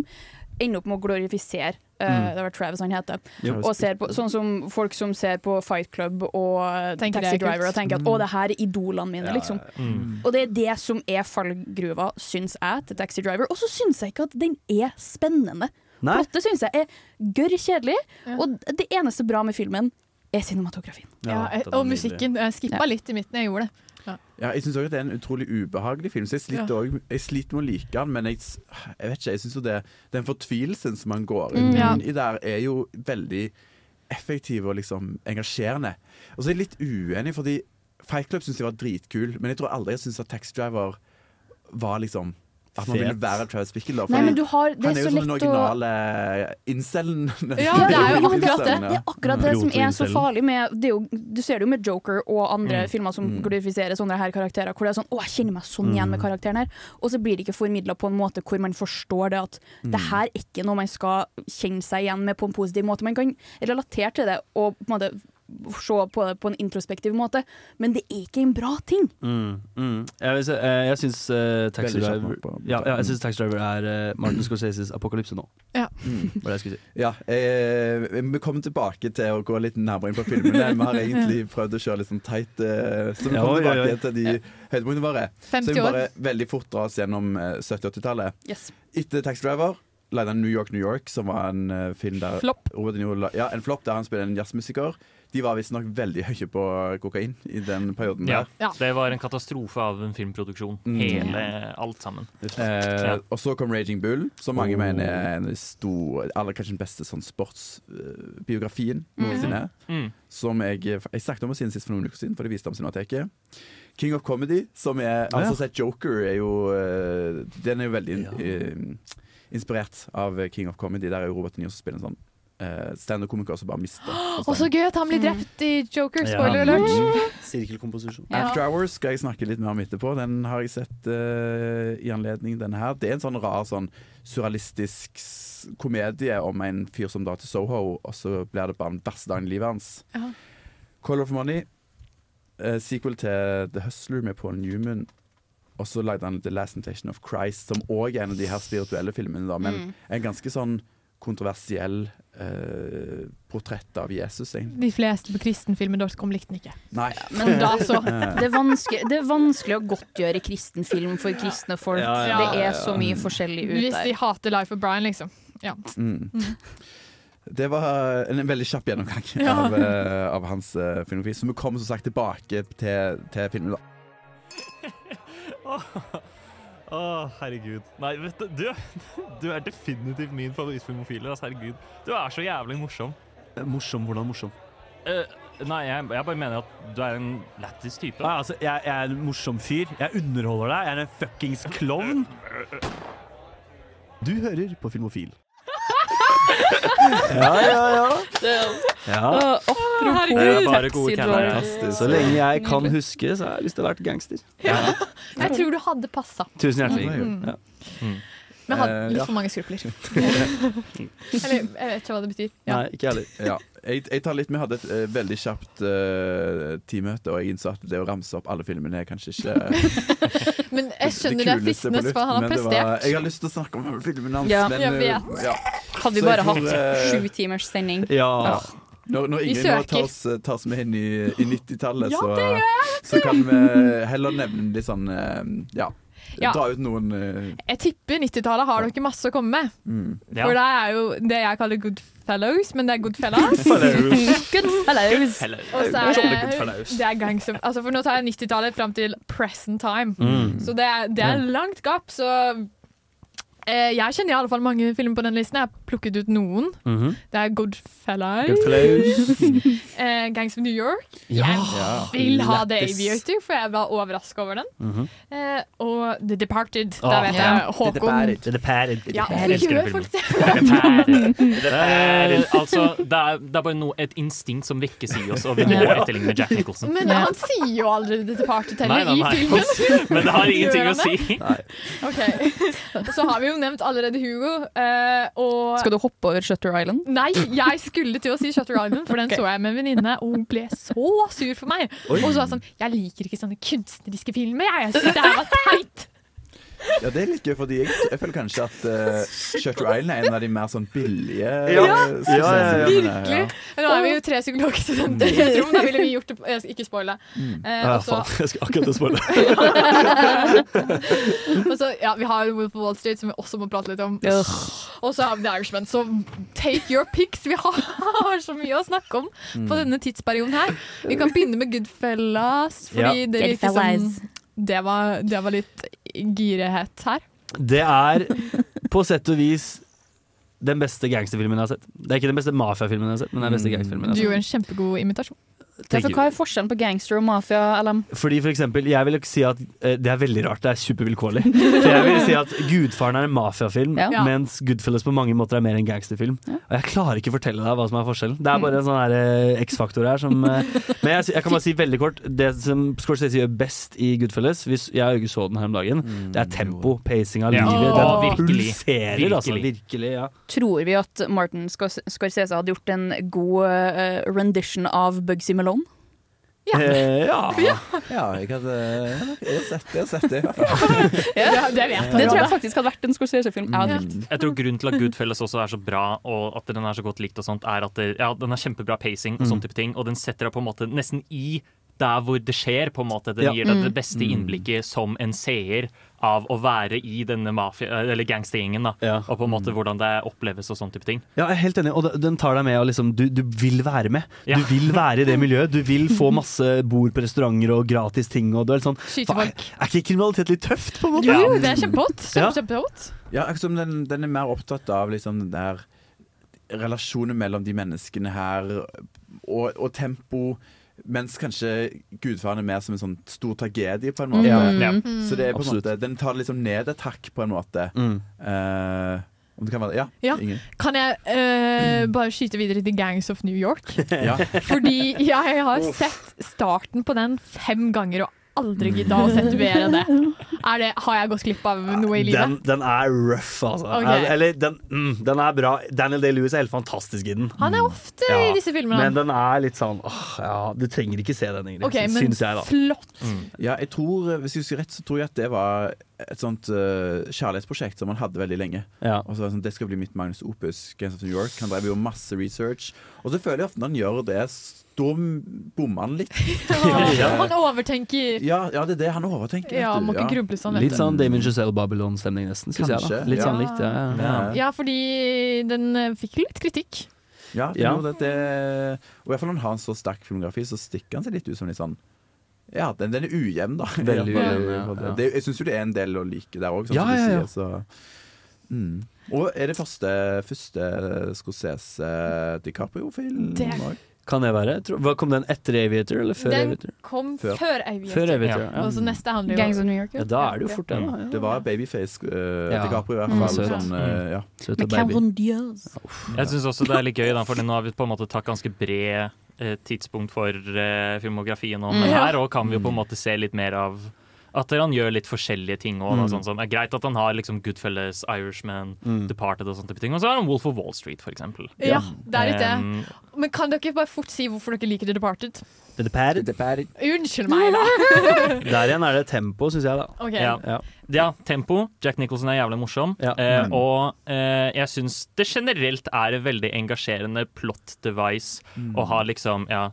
S9: ender opp med å glorifisere. eh,
S13: Mm.
S9: Det var Travis han heter.
S13: Ja.
S9: Og ser på, sånn som folk som ser på Fight Club og eh,
S6: Tenker
S9: Taxi
S6: det er kult.
S9: Driver og tenker at å, det her er idolene mine, liksom. Og det er det som er fallgruva, syns jeg, til Taxi Driver. Og så syns jeg ikke at den er spennende.
S8: Nei.
S9: Plottet syns jeg er gørr kjedelig, og det eneste bra med filmen er cinematografien.
S6: Ja,
S7: Ja, den er
S6: og
S7: nydelig.
S6: musikken. Jeg skippa litt i midten, jeg gjorde det. Ja.
S7: Ja, jeg syns òg det er en utrolig ubehagelig film. Så jeg sliter,
S6: Ja.
S7: også- jeg sliter med å like den, men jeg, s- jeg vet ikke, jeg syns jo det Den fortvilelsen som han går inn
S8: Mm, ja.
S7: i der, er jo veldig effektiv og liksom engasjerende. Og så er jeg litt uenig, fordi Fight Club syns jeg var dritkul, men jeg tror aldri jeg syns at Tax Driver var liksom at man
S8: Fet.
S7: ville være Travis Bickle, da.
S9: Nei,
S7: fordi
S9: men du har- det er
S7: han er jo
S9: så
S7: sånn den
S9: lett å-
S7: originale incelen.
S9: Ja, det er jo akkurat det. Det er akkurat det som er så
S7: Proto-incelen.
S9: farlig med det er jo, Du ser det jo med Joker og andre
S7: Mm.
S9: filmer som
S7: Mm.
S9: glorifiserer sånne her karakterer, hvor det er sånn 'Å, jeg kjenner meg sånn igjen med
S13: Mm.
S9: karakteren her', og så blir det ikke formidla på en måte hvor man forstår det at
S13: Mm.
S9: det her er ikke noe man skal kjenne seg igjen med på en positiv måte. Man kan relatere til det og på en måte se på det på en introspektiv måte, men det er ikke en bra ting.
S8: Mm, mm. Jeg, vil si- eh, jeg syns eh, Taxi
S7: Mm. Veldig kjapt
S8: Driver
S7: nok på- Mm.
S8: ja, ja, jeg synes Taxi Driver er eh, Martin Scorseses apokalypse nå.
S6: Ja.
S7: Mm.
S8: Var det jeg skulle si.
S7: Ja, eh, vi kommer tilbake til å gå litt nærmere inn på filmene. Vi har egentlig prøvd å kjøre litt sånn tight, eh, så vi
S8: Ja,
S7: kommer
S8: oi, oi,
S7: tilbake
S8: oi.
S7: til de høydepunktene våre. Så
S6: 50
S7: vi
S6: år.
S7: bare veldig fort drar oss gjennom eh, 70-80-tallet.
S6: Yes.
S7: Etter Taxi Driver lagde han New York, New York, som var en eh, film der
S6: Flopp.
S7: Robert De Niro la- ja, en flopp der han spiller en jazzmusiker. De var visstnok veldig høye på kokain i den perioden.
S10: Ja.
S7: der
S10: Det var en katastrofe av en filmproduksjon.
S7: Mm.
S10: Hele, alt sammen.
S7: Eh,
S10: Ja.
S7: og så kom Raging Bull, som mange
S10: Oh.
S7: mener er en av de store Eller kanskje den beste sånn sportsbiografien noensinne.
S10: Mm.
S7: Som jeg, jeg snakket om det siden sist for noen uker siden, for det viste om Cinemateket. King of Comedy, som er
S8: Ah, ja.
S7: Altså sett Joker, er jo eh, Den er jo veldig eh, inspirert av King of Comedy. Der er jo Robert De Niro som spiller en sånn uh, standup-komiker som bare mister.
S6: Og så gøy at han
S7: Mm.
S6: blir drept i Joker. Spoiler alert.
S8: Mm. Sirkelkomposisjon.
S6: Ja.
S7: After Hours skal jeg snakke litt mer om etterpå. Den har jeg sett eh, i anledning denne her. Det er en sånn rar sånn surrealistisk s- komedie om en fyr som drar til Soho, og så blir det bare den verste dagen i livet hans.
S6: Ja.
S7: Call of Money, eh, sequel til The Hustler med Paul Newman. Og så lagde han The Last Temptation of Christ, som òg er en av de her spirituelle filmene, da, men
S6: Mm.
S7: en ganske sånn kontroversiell eh, portrett av Jesus, egentlig.
S6: De fleste på kristenfilmer.com likte den ikke.
S7: Nei.
S9: Men da så.
S7: Eh.
S9: Det er vanskelig, det er vanskelig å godtgjøre kristen film for kristne folk.
S7: Ja, ja, ja,
S9: Det
S7: ja.
S9: er så mye forskjellig ut
S6: Hvis de
S9: der.
S6: hater Life of Brian, liksom. Ja.
S7: Mm.
S6: Mm.
S7: Det var en, en veldig kjapp gjennomgang
S6: Ja.
S7: av, eh, av hans eh, filmografi. Så vi kommer som sagt tilbake til, til filmen. da.
S10: Åh, åh, herregud. Nei, vet du, du, du er definitivt min favorittfilmofile. Altså, herregud. Du er så jævlig morsom.
S8: Morsom, hvordan morsom?
S10: Eh, nei, jeg, jeg bare mener at du er en lættis type.
S8: Nei, altså, jeg, jeg er en morsom fyr. Jeg underholder deg. Jeg er en fuckings klovn. Du hører på Filmofil. ja, ja, ja. Ja.
S9: Å, apropos
S8: Det er bare gode
S9: Taxi
S8: kenner, ja.
S9: Driver.
S8: Så lenge jeg kan huske, så har jeg lyst til å være gangster.
S6: Jeg tror du hadde passa.
S8: Tusen hjertelig.
S6: Mm.
S8: Ja.
S6: Men jeg hadde
S7: Eh, ja.
S6: litt for mange skrupler. Eller jeg vet ikke hva det betyr. Ja.
S8: Nei, ikke heller.
S7: Ja. Jeg, jeg tar litt, Vi hadde et eh, veldig kjapt eh, teammøte, og jeg innså at det å ramse opp alle filmene er kanskje ikke
S6: Men jeg skjønner det er
S7: det kuleste på
S6: fristende, for
S7: luften,
S6: han har
S7: men det var-
S6: prestert.
S7: Jeg har lyst til å snakke om filmene hans,
S9: Ja,
S7: men
S6: jeg
S7: eh,
S6: vet.
S7: ja.
S9: Hadde
S7: Så
S9: vi
S7: jeg
S9: bare
S7: tror,
S9: hatt
S7: eh,
S9: sju timers sending.
S8: Ja.
S7: Når, når
S9: Vi
S7: Ingrid nå
S9: søker.
S7: tar oss, tar oss med inn i, i 90-tallet,
S6: Ja, det gjør
S7: så, så kan vi heller nevne litt sånn eh, Ja,
S6: Ja.
S7: dra ut noen eh,
S6: Jeg tipper 90-tallet har dere masse å komme med.
S7: mm.
S6: For det er jo det jeg kaller good fellows, men det er good fellas. good fellows. Og så er
S8: Skjønner
S6: det,
S8: good fellows.
S6: det er gangster altså For nå tar jeg 90-tallet fram til present time.
S8: Mm.
S6: Så det er, det er langt gap, så eh, Jeg kjenner i alle fall mange filmer på den listen. Jeg har plukket ut noen.
S8: Mhm.
S6: Det er Good Fellows. eh, Gangs of New York.
S8: Ja.
S6: Jeg vil ha The Aviator, for jeg var overraska over den.
S8: Mhm.
S6: Eh, og The Departed.
S8: Ah,
S6: Da vet
S8: ja.
S6: jeg Håkon. Ja, hvorfor gjør folk det?
S10: Eh, altså, det er, det er bare noe, et instinkt som vekkes i oss, og vi må etterligne Jack Nicholson.
S6: Men han sier jo aldri The Departed
S10: Nei,
S6: heller
S10: nei,
S6: i
S10: nei.
S6: filmen.
S10: Men det har ingenting
S6: Gjør
S10: å
S6: han det?
S10: si.
S6: Ok. Så har vi jo nevnt allerede Hugo. eh, og
S9: Skal du hoppe over Shutter Island?
S6: Nei, jeg skulle til å si Shutter Island, for den
S9: Ok.
S6: så jeg med en venninne, og hun ble så sur for meg.
S7: Oi.
S6: Og så var jeg sånn Jeg liker ikke sånne kunstneriske filmer, jeg. Jeg syns det her var teit.
S7: Ja, det er litt gøy, fordi jeg, jeg føler kanskje at eh, Shutter Island er en av de mer sånn billige eh,
S8: Ja.
S7: suksessfilmene,
S8: Ja, ja, ja. Mm.
S6: Virkelig. Men Nå er vi jo tre psykologstudenter i et rom, da ville vi gjort det Jeg skal ikke spoile. Eh,
S8: Ja,
S6: og så-
S8: faen, jeg skal akkurat til å spoile.
S6: og så, ja, vi har jo Wolf of Wall Street, som vi også må prate litt om. Og så har vi The Irishman, så take your picks. Vi har så mye å snakke om
S8: Mm.
S6: på denne tidsperioden her. Vi kan begynne med Goodfellas, fordi
S8: Ja.
S6: det virker
S9: sånn-
S6: som
S9: Goodfellas.
S6: det var, det var litt girehet her.
S8: Det er på sett og vis den beste gangsterfilmen jeg har sett. Det er ikke den beste mafiafilmen jeg har sett, men den beste
S6: Du
S8: gangsterfilmen jeg har
S6: gjorde en kjempegod imitasjon.
S8: sett.
S9: Ja, for
S8: tenker-
S9: hva er forskjellen på gangster og mafia-LM?
S8: Fordi for eksempel, Jeg vil ikke si at eh, Det er veldig rart, det er supervilkårlig. For jeg vil si at Gudfaren er en mafiafilm,
S9: Ja.
S8: mens Goodfellas på mange måter er mer en gangsterfilm. Og jeg klarer ikke å fortelle deg hva som er forskjellen. Det er bare en sånn her, eh, X-faktor her som eh, Men jeg, sy- jeg kan bare si veldig kort det som Scorsese gjør best i Goodfellas, hvis jeg og Jørgen så den her om dagen, det er tempo, pacing av
S10: Mm. Ja.
S8: livet.
S10: Åh,
S8: Den
S10: virkelig.
S8: pulserer, altså.
S10: Virkelig.
S8: Virkelig, ja.
S9: Tror vi at Martin Scors- Scorsese hadde gjort en god eh, rendition av Bugsy Malone?
S8: Eh, ja.
S7: Ja, jeg hadde jeg har sett det. Jeg har sett det.
S9: Ja,
S6: det vet
S9: Det tror jeg faktisk hadde vært en Scorsese-film. Jeg hadde likt.
S10: Jeg tror grunnen til at Goodfellas også er så bra, og at den er så godt likt, og sånt, er at det, ja, den har kjempebra pacing,
S8: Mm.
S10: og sånn type ting, og den setter deg på en måte nesten i der hvor det skjer. på en måte. Den
S8: Ja.
S10: gir deg
S8: Mm.
S10: det beste innblikket som en seer av å være i denne mafia, eller gangstergjengen, da, og på en
S8: Mm.
S10: måte hvordan det oppleves og sånn type ting.
S8: Ja, jeg er helt enig, og den tar deg med. Og liksom, du, du vil være med. Du vil være i det miljøet. Du vil få masse bord på restauranter og gratis ting. Og du er litt sånn,
S6: Skyte
S8: "Faen,
S6: folk."
S8: Er ikke kriminalitet litt tøft, på en måte?
S6: Jo, det er kjempehot.
S7: Ja.
S6: Kjempe, kjempehot.
S7: Ja, akkurat som den, den er mer opptatt av liksom den der relasjonen mellom de menneskene her, og, og tempo. Mens kanskje gudfaren er mer som en sånn stor tragedie, på en måte.
S8: Mm. Ja.
S7: Så det er på en
S8: Absolutt.
S7: måte, den tar det liksom ned et hakk, på en måte.
S8: Mm.
S7: Eh, om det kan være Ja,
S6: Ja.
S7: Ingen.
S6: Kan jeg eh,
S8: Mm.
S6: bare skyte videre til Gangs of New York?
S7: Ja.
S6: Fordi jeg har sett starten på den fem ganger og aldri gidda å sette mer enn det. Er det. Har jeg gått glipp av noe i
S8: Den,
S6: livet?
S8: den er rough, altså.
S6: Ok.
S8: Eller- Eller, den, mm, den er bra. Daniel Day-Lewis er helt fantastisk i den.
S6: Han er ofte i disse filmene.
S8: Men den er litt sånn åh, ja, Du trenger ikke se den, Ingrid.
S6: Ok, men
S8: syns jeg, da.
S6: flott.
S7: Ja, jeg tror, hvis jeg husker rett, så tror jeg at det var et sånt eh, kjærlighetsprosjekt som han hadde veldig lenge. Og så var det sånn, Det skal bli mitt Magnus Opus, Games of New York. Han drev jo masse research. Og så føler jeg ofte når han gjør det, s- da bommer han litt.
S6: Han overtenker.
S7: ja, ja, det er det han overtenker. vet
S6: Ja,
S7: du.
S6: må ikke gruble sånn, vet du.
S8: Litt sånn Damien Giselle Babylon-stemning, nesten. Synes jeg, da.
S7: Kanskje,
S8: Litt
S7: ja.
S8: sånn likt, ja. ja.
S6: Ja, fordi den eh, fikk litt kritikk.
S7: Ja, det
S8: Ja.
S7: gjorde det, det, og i hvert fall når han har en så sterk filmografi, så stikker han seg litt ut som litt sånn Ja, den, den er ujevn, da.
S8: Veldig
S7: Ja.
S8: ujevn, ja, ja.
S7: Det, jeg syns jo det er en del å like der òg, sånn
S8: Ja,
S7: som du
S8: ja, ja.
S7: sier. Så. Mm. Og er det første, første Scorsese eh, DiCaprio-film
S6: Det-
S7: òg?
S8: Kan det være? Tror- Hva Kom den etter Aviator, eller før
S6: Den
S8: Aviator?
S6: kom
S7: Før.
S6: før Aviator.
S8: Før Aviator, ja.
S6: Og så neste handler jo
S9: Gangs of New York.
S8: Ja, da er det jo fort det, da.
S7: Mm. Det var babyface eh,
S8: Ja.
S7: DiCaprio i
S8: Mm.
S7: hvert fall.
S8: Søt.
S7: Sånn,
S8: Mm.
S7: eh, ja.
S8: Søt og
S10: Jeg syns også det er litt gøy, da, for nå har vi på en måte tatt ganske bred eh, tidspunkt for eh, filmografien. Og, men
S2: Mm.
S10: her også kan vi jo på en måte se litt mer av at han gjør litt forskjellige ting. Også, da,
S2: Mm.
S10: sånn som, det er greit at han har liksom Goodfellas, Irishman,
S2: Mm.
S10: Departed og sånne type ting. Og så har han Wolf of Wall Street, for eksempel.
S6: Ja, det er litt
S10: Um,
S6: det. Men kan dere bare fort si hvorfor dere liker The Departed?
S8: The Departed.
S6: Unnskyld meg, da!
S8: Der igjen er det tempo, syns jeg, da.
S6: Ok.
S10: Ja. ja, tempo. Jack Nicholson er jævlig morsom. Eh,
S2: Mm.
S10: og eh, jeg syns det generelt er en veldig engasjerende plot device
S2: Mm.
S10: å ha liksom, ja,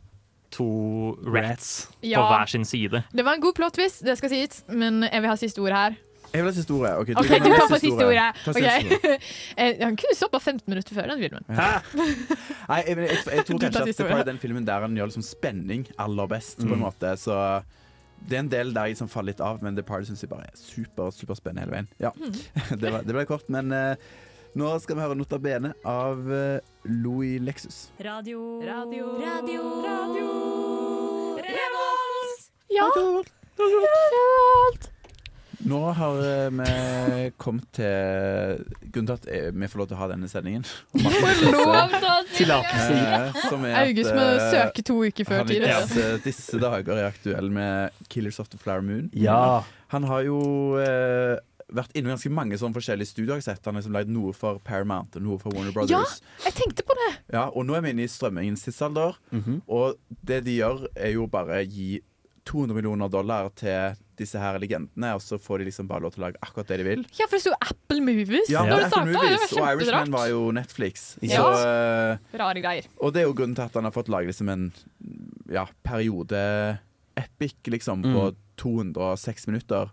S10: to rats, på
S6: Ja.
S10: hver sin side.
S6: Det var en god plot twist, det skal sies, men jeg vil ha siste ord her.
S7: Jeg vil ha siste ordet. OK,
S6: Ok, Du kan få siste ordet.
S7: Ta
S6: Ok.
S7: siste ordet.
S6: Eh, Han kunne stoppa 15 minutter før den filmen.
S7: Nei, jeg, jeg, jeg,
S6: Du
S7: tror
S6: tar
S7: kanskje at
S6: siste
S7: det er
S6: ordet.
S7: den filmen der han gjør liksom spenning aller best, på
S8: Mm.
S7: en måte. Så det er en del der jeg liksom faller litt av, men The Party syns jeg bare er super, superspennende hele veien. Ja,
S6: Mm.
S7: det, var, det ble kort, men eh, nå skal vi høre Nota Bene av eh, Louis Lexus.
S13: Radio Radio Radio Radio Revolt!
S6: Ja.
S7: Nå har eh, vi kommet til grunnen til at eh, vi får lov til å ha denne sendingen. Eh, som er at,
S6: August må
S7: eh,
S6: søke to uker før
S7: Han
S6: tid.
S7: ikke disse- disse dager er aktuell med Killers of the Flower Moon.
S8: Ja.
S7: Han har jo eh, vært innom ganske mange sånne forskjellige studioer. Jeg har sett. Han har liksom lagd noe for Paramount og noe for Warner
S6: Ja,
S7: Brothers.
S6: jeg tenkte på det!
S7: Ja, og nå er vi inne i strømmingens tidsalder. Og det de gjør, er jo bare gi 200 millioner dollar til disse her legendene, og så får de liksom bare lov til å lage akkuart det de vil.
S6: Ja, for det sto Apple Movies
S7: Ja,
S6: når det
S7: det er
S6: starta.
S7: Apple
S6: Det var
S7: Movies, og Irishman
S6: kjemperart.
S7: var jo Netflix.
S6: Ikke
S7: Så, eh,
S6: Rare greier.
S7: og det er jo grunnen til at han har fått lage liksom en ja, periode-epic liksom, på
S8: Mm.
S7: 206 minutter.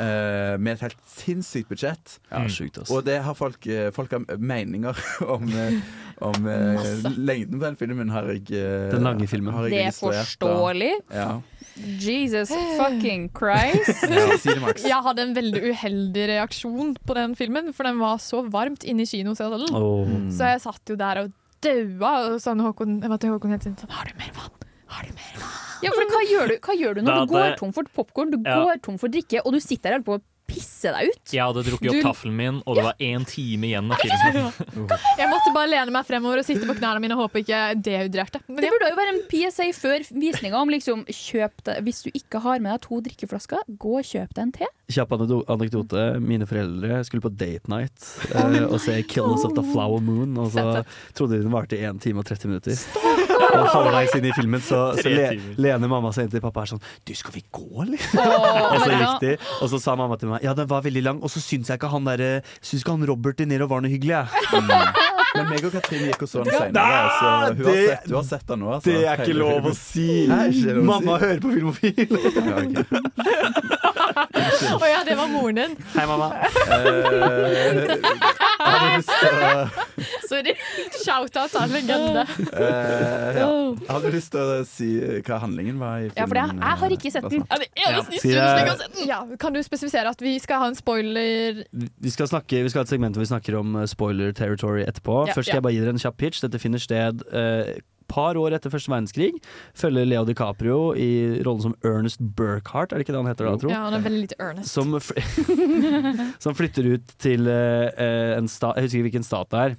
S7: eh, med et helt sinnssykt budsjett.
S8: Ja, sjukt, ass.
S7: Og det har folk, eh, folk har meninger om, eh, om eh,
S9: Masse.
S7: lengden på den filmen, har jeg eh,
S8: Den lange filmen.
S7: har jeg
S9: Det er
S7: registrert, da.
S9: forståelig.
S7: Ja.
S9: Jesus fucking Christ.
S7: Ja, si det, Max.
S6: Jeg hadde en veldig uheldig reaksjon på den filmen, for den var så varmt inne i kinosalen.
S8: Åh.
S7: mm.
S6: Så jeg satt jo der og daua, og sånn Håkon, jeg var til Håkon hele tiden sånn Har du mer vann?
S9: Ja, for hva gjør du, hva gjør du når
S10: Da
S9: du går
S10: hadde-
S9: tom for popkorn, du
S10: Ja.
S9: går tom for drikke, og du sitter der og holder på å pisse deg ut?
S10: Jeg hadde drukket opp
S9: Du-
S10: tafelen min, og det var én time igjen av filmen.
S6: Jeg måtte bare lene meg fremover og sitte på knærne mine og håpe ikke dehydrerte. Men
S9: Det burde jo være en PSA før visninga om liksom kjøp deg Hvis du ikke har med deg to drikkeflasker, gå og kjøp deg en te.
S8: Kjapp anekdo- anekdote. Mine foreldre skulle på date night eh, og se 'Killings of the Flower Moon', og så trodde de den varte i 1 time og 30 minutter. Og halvveis inn i filmen så, så
S10: Tre
S8: le,
S10: timer.
S8: lener mamma seg inn til pappa og er sånn 'Du, skal vi gå, eller?'
S10: Åh,
S8: og så
S10: men
S8: gikk
S10: da-
S8: de, og så sa mamma til meg 'Ja, den var veldig lang', og så syns jeg ikke han der, eh, syns ikke han Robert De Niro var noe hyggelig, jeg.
S7: Mm. Men meg og Katrine gikk og så den
S8: Ja,
S7: senere. Så hun, har
S8: det-
S7: sett, hun har sett den nå. Altså.
S8: Det er ikke lov å si!
S7: Nei, ikke lov å
S8: Mamma
S7: si.
S8: hører på Filmofil!
S6: Å ja, det var moren din.
S8: Hei, mamma.
S7: Har du Eh, lyst til å
S6: Sorry. Shout-out til en legende.
S7: Eh, ja. Har du lyst til å si hva handlingen var i filmen? eh,
S6: Ja, for jeg- jeg har ikke sett den. Ja, det er eneste
S8: Ja.
S6: i
S8: Sier
S6: studio som ikke
S8: jeg-
S6: har sett den. Ja, kan du spesifisere at vi skal ha en spoiler
S8: Vi skal, snakke, vi skal ha et segment hvor vi snakker om eh, spoiler territory etterpå.
S6: Ja,
S8: Først skal
S6: ja.
S8: jeg bare gi dere en kjapp pitch. Dette finner sted eh, par år etter første verdenskrig. Følger Leo DiCaprio i rollen som Ernest Burkhardt, er det ikke det han heter da, tro?
S6: Ja, han er veldig litt earnest.
S8: Som, fl som flytter ut til eh, eh, en stat Jeg husker ikke hvilken stat det er.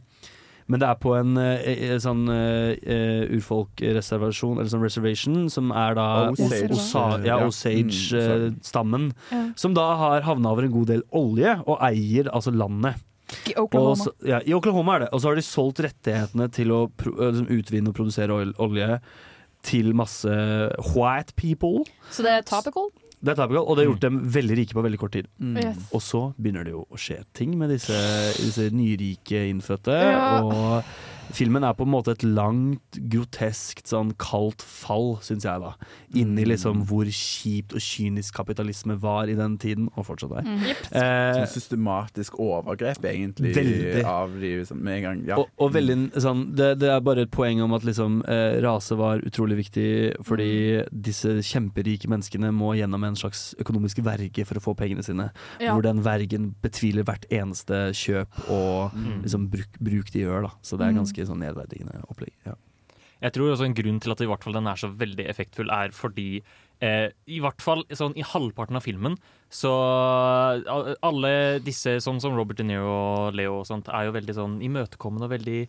S8: Men det er på en eh, eh, sånn eh, eh, urfolkreservasjon, eller sånn reservation, som er da
S7: Osage.
S8: Osa- ja,
S7: Ja. Mm, Osage.
S8: Osage-stammen.
S7: Ja.
S8: Som da har havna over en god del olje, og eier altså landet.
S9: I
S8: Og så, ja, I Oklahoma er det. Og så har de solgt rettighetene til å pro eh, liksom utvinne og produsere ol- olje til masse white people.
S9: Så det er topical.
S8: Det er typical,
S7: Mm.
S8: og det har gjort dem veldig rike på veldig kort tid.
S9: Mm. Yes.
S8: Og så begynner det jo å skje ting med disse, disse nyrike innfødte.
S6: Ja.
S8: Og filmen er på en måte et langt, groteskt, sånn kaldt fall, syns jeg, da. Inni liksom hvor kjipt og kynisk kapitalisme var i den tiden, og fortsatt er.
S7: Mm.
S8: Eh,
S7: Sånn systematisk overgrep, egentlig,
S8: Veldig.
S7: av de liksom, med en gang. Ja.
S8: Og, og veldig, sånn, det, det er bare et poeng om at liksom, eh, rase var utrolig viktig, fordi disse kjemperike menneskene må gjennom en slags økonomisk verge for å få pengene sine.
S6: Ja.
S8: Hvor den vergen betviler hvert eneste kjøp og
S10: Mm.
S8: liksom, bruk, bruk de gjør. Da. Så det
S10: Mm.
S8: er ganske sånn, nedverdigende opplegg. Ja.
S10: Jeg tror også en grunn til at i hvert fall den er så veldig effektfull, er fordi eh, I hvert fall sånn i halvparten av filmen, så al- alle disse, sånn som Robert De Niro og Leo og sånt, er jo veldig sånn imøtekommende og veldig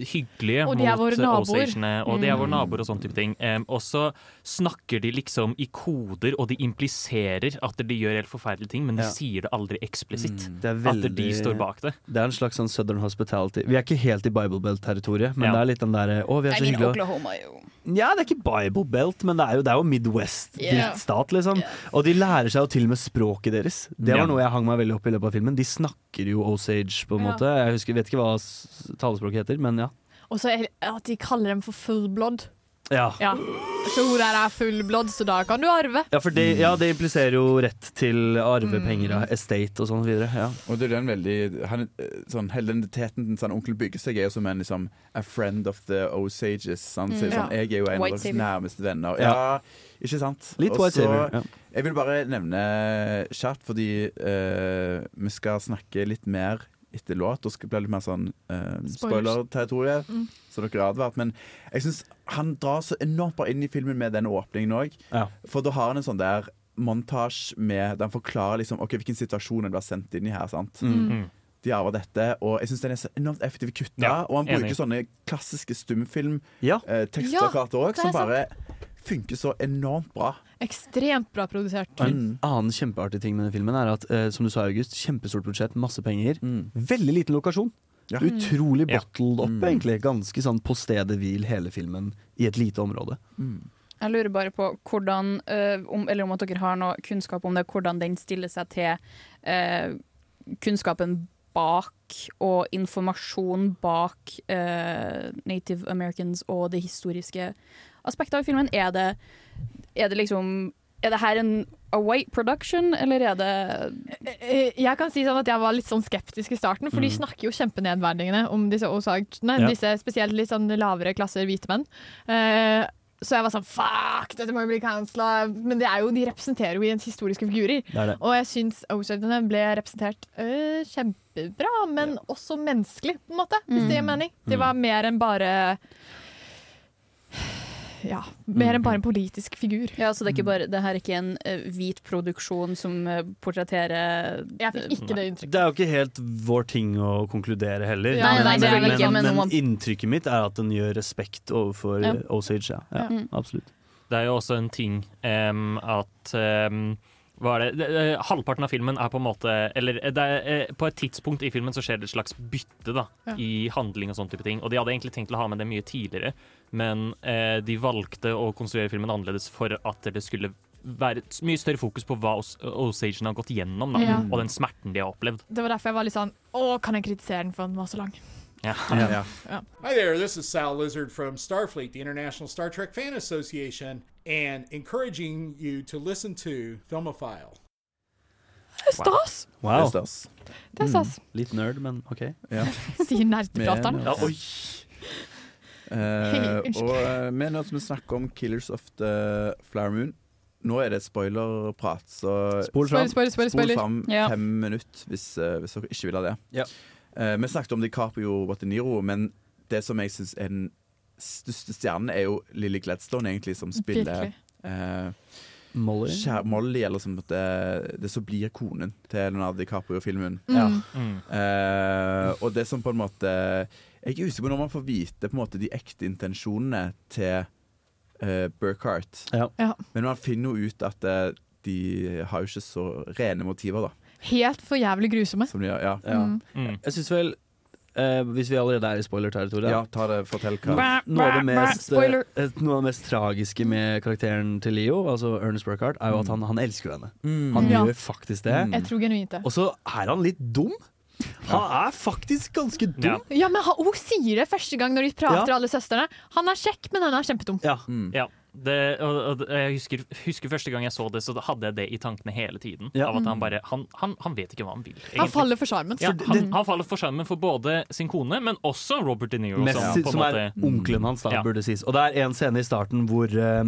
S10: hyggelige
S6: Og de er våre
S10: mot eh,
S6: naboer.
S10: Osagene. Og de er våre
S6: Mm.
S10: naboer og sånn type ting. Em, og så snakker de liksom i koder, og de impliserer at de gjør helt forferdelige ting, men de
S8: Ja. Mm,
S10: sier det aldri eksplisitt.
S8: Det er
S10: At de
S8: veldig-
S10: står bak det.
S8: Det er en slags sånn Southern Hospitality. Vi er ikke helt i Bible Belt-territoriet, men
S10: Ja.
S8: det er litt den derre Å, vi er så hyggelige. og-
S9: jo.
S8: Ja, det er ikke Bible Belt, men det er jo, det er jo Midwest
S9: Yeah.
S8: drittstat, liksom. Og de lærer seg jo til og med språket deres. Det var
S10: Ja.
S8: noe jeg hang meg veldig opp i løpet av filmen. De snakker jo Osage, på en
S6: Ja.
S8: måte. Jeg husker, vet ikke hva s- talespråket heter, men ja.
S6: Og så er- at de kaller dem for fullblod.
S8: Ja,
S6: Ja. Så hun der er fullblod, så da kan du arve.
S8: ja for det, ja, det impliserer jo rett til arvepenger av estate og sånn videre. Ja.
S7: Og det er den veldig han, eh, sånn, Hele den teten til sånn, onkel bygger seg er jo som en liksom, a friend of the Osages. Han sier
S8: Mm.
S7: sånn, jeg er jo en
S8: White
S7: av deres
S8: savior.
S7: nærmeste venner. Ja,
S8: Ja.
S7: ikke sant?
S8: Litt white savior, ja.
S7: Jeg vil bare nevne kjapt, fordi eh, vi skal snakke litt mer etter låt. Og skal bli litt mer sånn eh,
S8: Spoilers.
S7: spoiler-territoriet.
S8: Mm.
S7: Så dere har advart. Men jeg syns han drar så enormt bra inn i filmen med den åpningen òg.
S8: Ja.
S7: For da har han en sånn der montasje med Der han forklarer liksom, ok, hvilken situasjon han blir sendt inn i her. sant?
S10: Mm.
S7: De arver dette, og jeg syns den er så enormt effektiv kutta.
S10: Ja,
S7: og han bruker
S10: enig.
S7: sånne klassiske eh,
S6: Ja,
S7: stumfilm-tekstplakater òg,
S6: det er
S7: som bare funker så enormt bra.
S6: Ekstremt bra produsert.
S8: Og En annen kjempeartig ting med denne filmen er at eh, som du sa, August, kjempestort budsjett, masse penger. Veldig liten lokasjon. Utrolig
S7: Ja.
S8: bottled up, egentlig. Ganske sånn på stedet hvil hele filmen i et lite område.
S9: Jeg lurer bare på hvordan, eh, om, eller om at dere har noe kunnskap om det, hvordan den stiller seg til eh, kunnskapen bak og informasjon bak eh, Native Americans og det historiske aspektet av filmen. Er det, er det liksom Er det her en a white production, eller er det
S6: Eh, Jeg kan si sånn at jeg var litt sånn skeptisk i starten, for de
S9: Mm.
S6: snakker jo kjempenedverdigende om disse Osagene,
S9: Ja.
S6: disse spesielt litt sånn lavere klasser hvite menn. Eh, så jeg var sånn fuck, dette må jo bli cancela. Men det er jo, de representerer jo i en historiske figurer.
S8: Det er det.
S6: Og jeg syns Osagene ble representert eh, kjempebra, men også Mm.
S8: Mm.
S6: menneskelig, på en måte. Hvis det gir mening. Det var mer enn bare ja, mer
S8: Mm.
S6: enn bare en politisk figur.
S9: Ja, så det er ikke bare, det her er ikke en eh, hvit produksjon som eh, portretterer
S6: Jeg fikk ikke det inntrykket.
S8: Det er jo ikke helt vår ting å konkludere heller.
S9: Ja, nei, det er det
S8: men,
S9: ikke, men
S8: men,
S9: om man-
S8: inntrykket mitt er at den gjør respekt overfor
S9: Ja.
S8: eh, Osage. Ja. Ja,
S9: Ja. Mm.
S8: Absolutt.
S10: Det er jo også en ting em, at em, hva er det? Det, det, halvparten av filmen er på en måte Eller det er, eh, på et tidspunkt i filmen så skjer det et slags bytte da,
S2: Ja.
S10: i handling og sånn type ting. Og de hadde egentlig tenkt å ha med det mye tidligere, men eh, de valgte å konstruere filmen annerledes for at det skulle være et mye større fokus på hva Os Osagen har gått gjennom, da,
S6: Ja.
S10: og den smerten de har opplevd.
S6: Det var derfor jeg var litt sånn Å, kan jeg kritisere den for den var så lang?
S10: Ja.
S6: Ja. Ja.
S15: Hi there, this is Sal Lizard from Starfleet, the International Star Trek Fan Association, and encouraging you to listen to Filmophile.
S6: Det er Stas!
S8: Wow.
S7: Det er stas.
S6: Det er stas.
S8: Mm. Litt nerd, men OK.
S6: Sier nerdprateren.
S7: Med- Ja, oi. Eh,
S6: Unnskyld.
S7: og eh, med nå som vi snakker om Killers of the Flower Moon Nå er det spoilerprat, så
S8: Spol fram. Spoiler, spoiler, spoiler, spoiler.
S7: Spol fram
S8: Ja.
S7: fem minutter hvis, eh, hvis dere ikke vil ha det. Eh, vi snakket om DiCaprio og Wateniro, men det som jeg syns er den største stjernen, er jo Lily Gladstone, egentlig, som spiller
S8: Virkelig.
S7: eh,
S8: Molly?
S7: Skjær- Molly, eller som det, det som blir konen til Leonardo DiCaprio-filmen.
S6: Mm.
S8: Ja.
S10: Mm.
S7: Eh, og det som på en måte Jeg er usikker på når man får vite på en måte de ekte intensjonene til uh, Burkhart.
S6: Ja.
S7: Men man finner jo ut at eh, de har jo ikke så rene motiver, da.
S6: Helt for jævlig grusomme.
S7: Som de, gjør, ja.
S6: Ja. Mm.
S8: Jeg syns vel eh, hvis vi allerede er i spoiler-territoriet
S7: Ja, ta det, fortell
S8: Noe
S7: hva
S8: av det mest,
S7: Spoiler.
S8: eh, noe av det mest tragiske med karakteren til Leo, altså Ernest Burkhardt, er jo at han, han elsker jo henne.
S7: Mm.
S8: Han
S6: Ja.
S8: gjør faktisk det.
S6: Jeg tror genuint det.
S8: Og så er han litt dum. Han er faktisk ganske dum.
S6: Ja, men han hun sier det første gang når de prater,
S10: Ja.
S6: alle søstrene. Han er kjekk, men han er kjempedum.
S8: Ja.
S10: Ja. Det, og, og jeg husker, husker første gang jeg så det, så hadde jeg det i tankene hele tiden.
S8: Ja.
S10: Av at han
S6: Mm.
S10: bare Han, han, han vet ikke hva han vil.
S6: Han
S10: egentlig.
S6: faller for sjarmen.
S10: Ja, han, han faller for skjermen for både sin kone, men også Robert De Niro.
S8: Mest,
S10: som, sånn, på en
S8: som er
S10: måte,
S8: onkelen hans, da,
S10: Ja.
S8: burde sies. Og det er en scene i starten hvor, eh,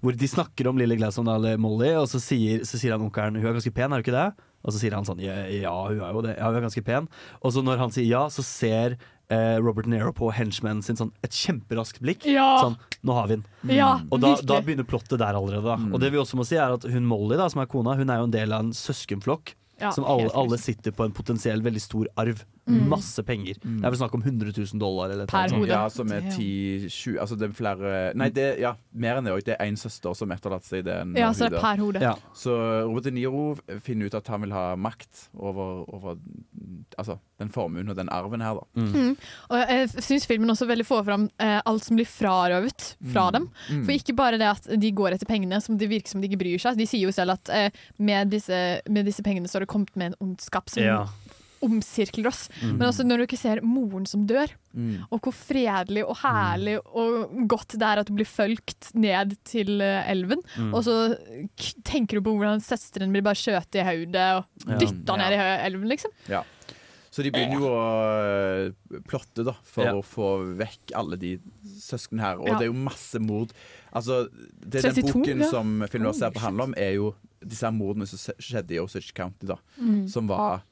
S8: hvor de snakker om Lille Gladstone eller Molly, og så sier, så sier han onkelen hun er ganske pen, er hun ikke det? Og så sier han sånn ja, ja, hun er jo det, ja, hun er ganske pen. Og så når han sier ja, så ser eh, Robert De Niro på henchmanen sin sånn et kjemperaskt blikk.
S6: Ja.
S8: Sånn, nå har vi den.
S6: Ja,
S8: og da,
S6: virkelig. Mm.
S8: da begynner plottet der allerede. Da. Og det vi også må si er at hun Molly, da, som er kona, hun er jo en del av en søskenflokk.
S6: Ja,
S8: som alle,
S6: helt riktig.
S8: alle sitter på en potensiell veldig stor arv.
S6: Mm.
S8: Masse penger. Det er vel snakk om 100 000 dollar. Eller et
S6: Per
S8: eller annet sånt.
S6: hode.
S7: Ja, som er 10-20 Altså det er flere Nei, det, ja, mer enn det òg. Det er én søster som etterlater seg den.
S6: Ja, så det er per hode. Ja.
S7: Så Robert De Niro finner ut at han vil ha makt over, over altså, den formuen og den arven her, da.
S6: Mm. Og jeg syns filmen også veldig får fram eh, alt som blir frarøvet fra
S7: Mm.
S6: dem.
S7: Mm.
S6: For ikke bare det at de går etter pengene, som det virker som de ikke bryr seg. De sier jo selv at eh, med, disse, med disse pengene så har det kommet med en ondskap som
S8: Ja.
S6: omsirkler oss.
S8: Mm.
S6: Men også når du ikke ser moren som dør,
S7: Mm.
S6: og hvor fredelig og herlig og godt det er at du blir fulgt ned til eh, elven,
S8: Mm.
S6: og så k tenker du på hvordan søsteren blir bare skjøt i hodet og
S7: Ja.
S6: dytta ned i hø- elven, liksom.
S7: Ja. Så de begynner jo å plotte da, for
S8: Ja.
S7: å få vekk alle de søsknene her. Og
S8: Ja.
S7: det er jo masse mord. Altså, det er
S8: 32,
S7: den boken
S8: ja.
S7: som filmen
S8: Holy
S7: vår ser på handler om, er jo disse her mordene som skjedde i Osage County, da.
S8: Mm.
S7: Som var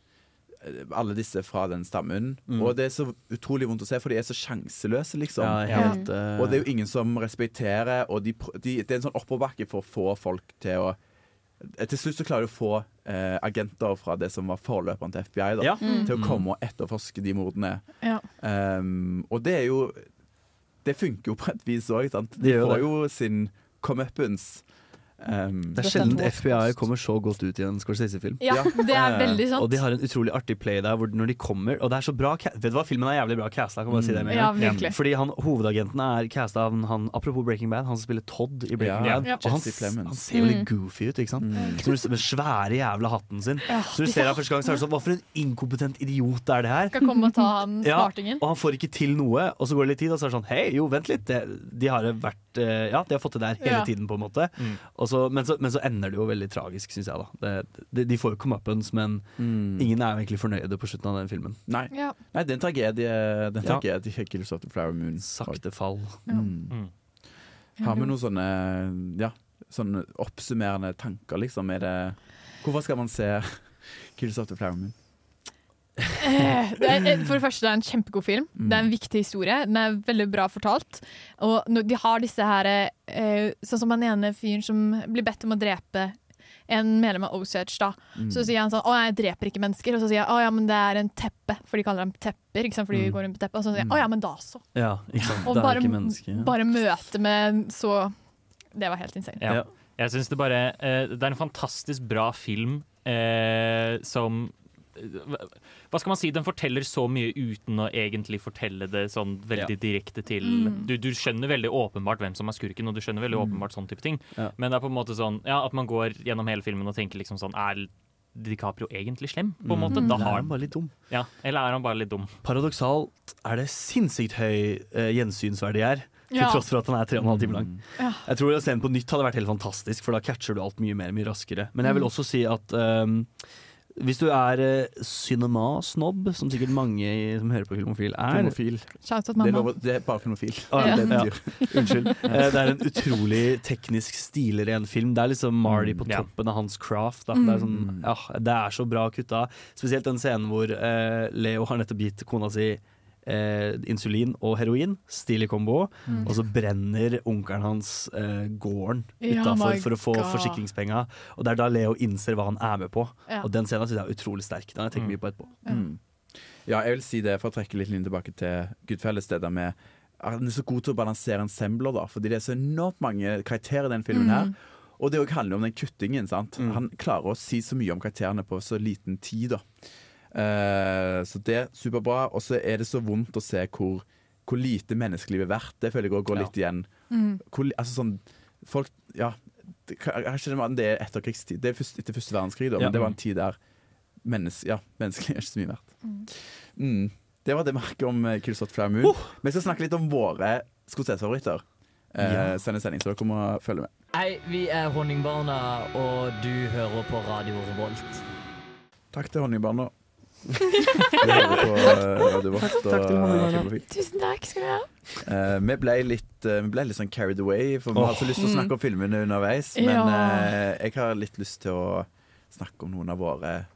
S7: eh, alle disse fra den stammen.
S8: Mm.
S7: Og det er så utrolig vondt å se, for de er så sjanseløse, liksom.
S8: Ja, helt, Mm. eh,
S7: Og det er jo ingen som respekterer, og de, pr- de, det er en sånn oppoverbakke for å få folk til å til slutt så klarer du å få eh, agenter fra det som var forløperen til FBI, da,
S8: Ja. Mm.
S7: til å
S8: Mm.
S7: komme og etterforske de mordene.
S6: Ja.
S7: Um, og det er jo Det funker jo på et vis òg.
S8: Det
S7: De
S8: gjør
S7: får
S8: det.
S7: jo sin comeuppance. Um,
S8: Det er sjelden FBI kommer så godt ut i en Scorsese-film. Eh,
S6: Ja, Ja. det er veldig sant.
S8: Og de har en utrolig artig play der hvor når de kommer Og det er så bra ca- Vet du hva, filmen er jævlig bra casta. Kan bare si det med en
S6: Ja,
S8: gang.
S6: virkelig.
S8: Fordi han, hovedagenten er casta av han, apropos Breaking Bad, han som spiller Todd i Breaking
S7: Ja,
S8: Bad.
S7: ja.
S8: Og han,
S7: Jesse Plemons.
S8: han ser jo litt
S7: Mm.
S8: goofy ut, ikke sant? Så du, med svære jævla hatten sin.
S6: Ja,
S8: så du
S6: disse
S8: ser ham første gang, så er det sånn Hva for en inkompetent idiot er det her?
S6: Skal komme og ta han
S8: Ja,
S6: smartingen.
S8: og han får ikke til noe, og så går det litt tid, og så er det sånn Hei, jo, vent litt. Det, de har vært eh, Ja, de har fått det der hele
S6: Ja.
S8: tiden, på en måte. Og så, men, så, men så ender det jo veldig tragisk, syns jeg, da. Det, de, de får jo comeuppance, men ingen er jo egentlig fornøyde på slutten av den filmen.
S7: Nei.
S6: Ja.
S7: Nei, det er en tragedie. Det er en
S8: Ja.
S7: tragedie Killers of the Flower Moon.
S8: Sakte fall.
S7: Mm. Har
S8: Mm.
S7: vi noen sånne, ja, sånne oppsummerende tanker, liksom? Er det, hvorfor skal man se Killers of the Flower Moon?
S6: Eh, Det er, eh, for det første, det er en kjempegod film. Det
S8: Mm.
S6: er en viktig historie. Den er veldig bra fortalt. Og når de har disse her eh, Sånn som han ene fyren som blir bedt om å drepe en medlem av Osage, da. Så
S4: Mm.
S6: sier han sånn 'Å, jeg dreper ikke mennesker'. Og så sier jeg 'Å ja, men det er en teppe', for de kaller dem tepper. Ikke sant? Fordi de
S8: Mm.
S6: går rundt på teppet. Og så sier jeg 'Å ja, men da så'.
S8: Ja, ikke sant.
S6: Og
S8: det er
S6: bare,
S8: ikke menneske. Ja.
S6: bare møte med så Det var helt insane.
S10: Ja. Jeg syns det bare eh, Det er en fantastisk bra film eh, som hva hva skal man si? Den forteller så mye uten å egentlig fortelle det sånn veldig direkte til
S2: Mm.
S10: du, du skjønner veldig åpenbart hvem som er skurken, og du skjønner veldig
S2: Mm.
S10: åpenbart sånn type ting.
S2: Ja.
S10: Men det er på en måte sånn ja, at man går gjennom hele filmen og tenker liksom sånn Er DiCaprio egentlig slem, på en
S8: Mm.
S10: måte?
S8: Mm.
S10: Da
S8: Eller er
S10: har
S8: han bare litt dum.
S10: Ja, eller er han bare litt dum?
S8: Paradoksalt er det sinnssykt høy eh, gjensynsverdi her, til
S10: Ja.
S8: tross for at den er tre og en halv time lang.
S10: Ja.
S8: Jeg tror å se den på nytt hadde vært helt fantastisk, for da catcher du alt mye mer mye raskere. Men jeg vil
S10: Mm.
S8: også si at ehm, hvis du er eh, cinema-snobb, som sikkert mange i- som hører på Filmofil er
S7: Filmofil.
S6: Shout out mamma. Det er lov-
S8: er bare filmofil.
S7: Ja.
S8: Ah, ja.
S7: Det betyr.
S8: Unnskyld. Eh, Det er en utrolig teknisk stilren film. Det er liksom Marty på
S7: Mm, Ja.
S8: toppen av hans craft. Da.
S7: Mm.
S8: Det, er sånn, ja, det er så bra kutta. Spesielt den scenen hvor eh, Leo har nettopp gitt kona si eh, insulin og heroin, stilig kombo,
S2: Mm.
S8: og så brenner onkelen hans eh, gården
S2: Ja,
S8: utafor
S2: my
S8: for å få
S2: God.
S8: forsikringspenga. Og det er da Leo innser hva han er med på.
S2: Ja.
S8: Og den scenen syns jeg er utrolig sterk. Den har jeg tenkt mye på etterpå.
S7: Mm. Ja, jeg vil si det for å trekke litt linje tilbake til Gudfelles. Det der med at den er så god til å balansere ensembler, da, fordi det er så enormt mange karakterer i den filmen her.
S16: Mm.
S7: Og det også handler om den kuttingen. sant? Han klarer å si så mye om karakterene på så liten tid. da. Eh, så det er superbra. Og så er det så vondt å se hvor, hvor lite menneskelivet er verdt. Det føler jeg også går litt igjen.
S6: Mm.
S7: Hvor, li- altså sånn, folk, ja, det, kanskje det var- det er etterkrigstid. Det er først, etter første verdenskrig, da,
S8: Ja.
S7: men det var en tid der menneske, ja, menneskelig er ikke så mye verdt. Mm. Det var det merket om eh, Killshot Flower Moon. Vi skal snakke litt om våre Scorsese-favoritter. Eh,
S17: Ja.
S7: Send en sending, så dere må følge med.
S17: Hei, vi er Honningbarna, og du hører på Radio Revolt.
S7: Takk til Honningbarna. Vi hører på eh, Radio Vårt og Filmofil.
S6: Tusen takk skal du ha.
S7: Eh, vi ble litt, eh, vi ble litt sånn carried away, for vi
S8: Åh.
S7: har så lyst til å snakke om filmene underveis. Men
S8: Ja.
S7: eh, jeg har litt lyst til å snakke om noen av våre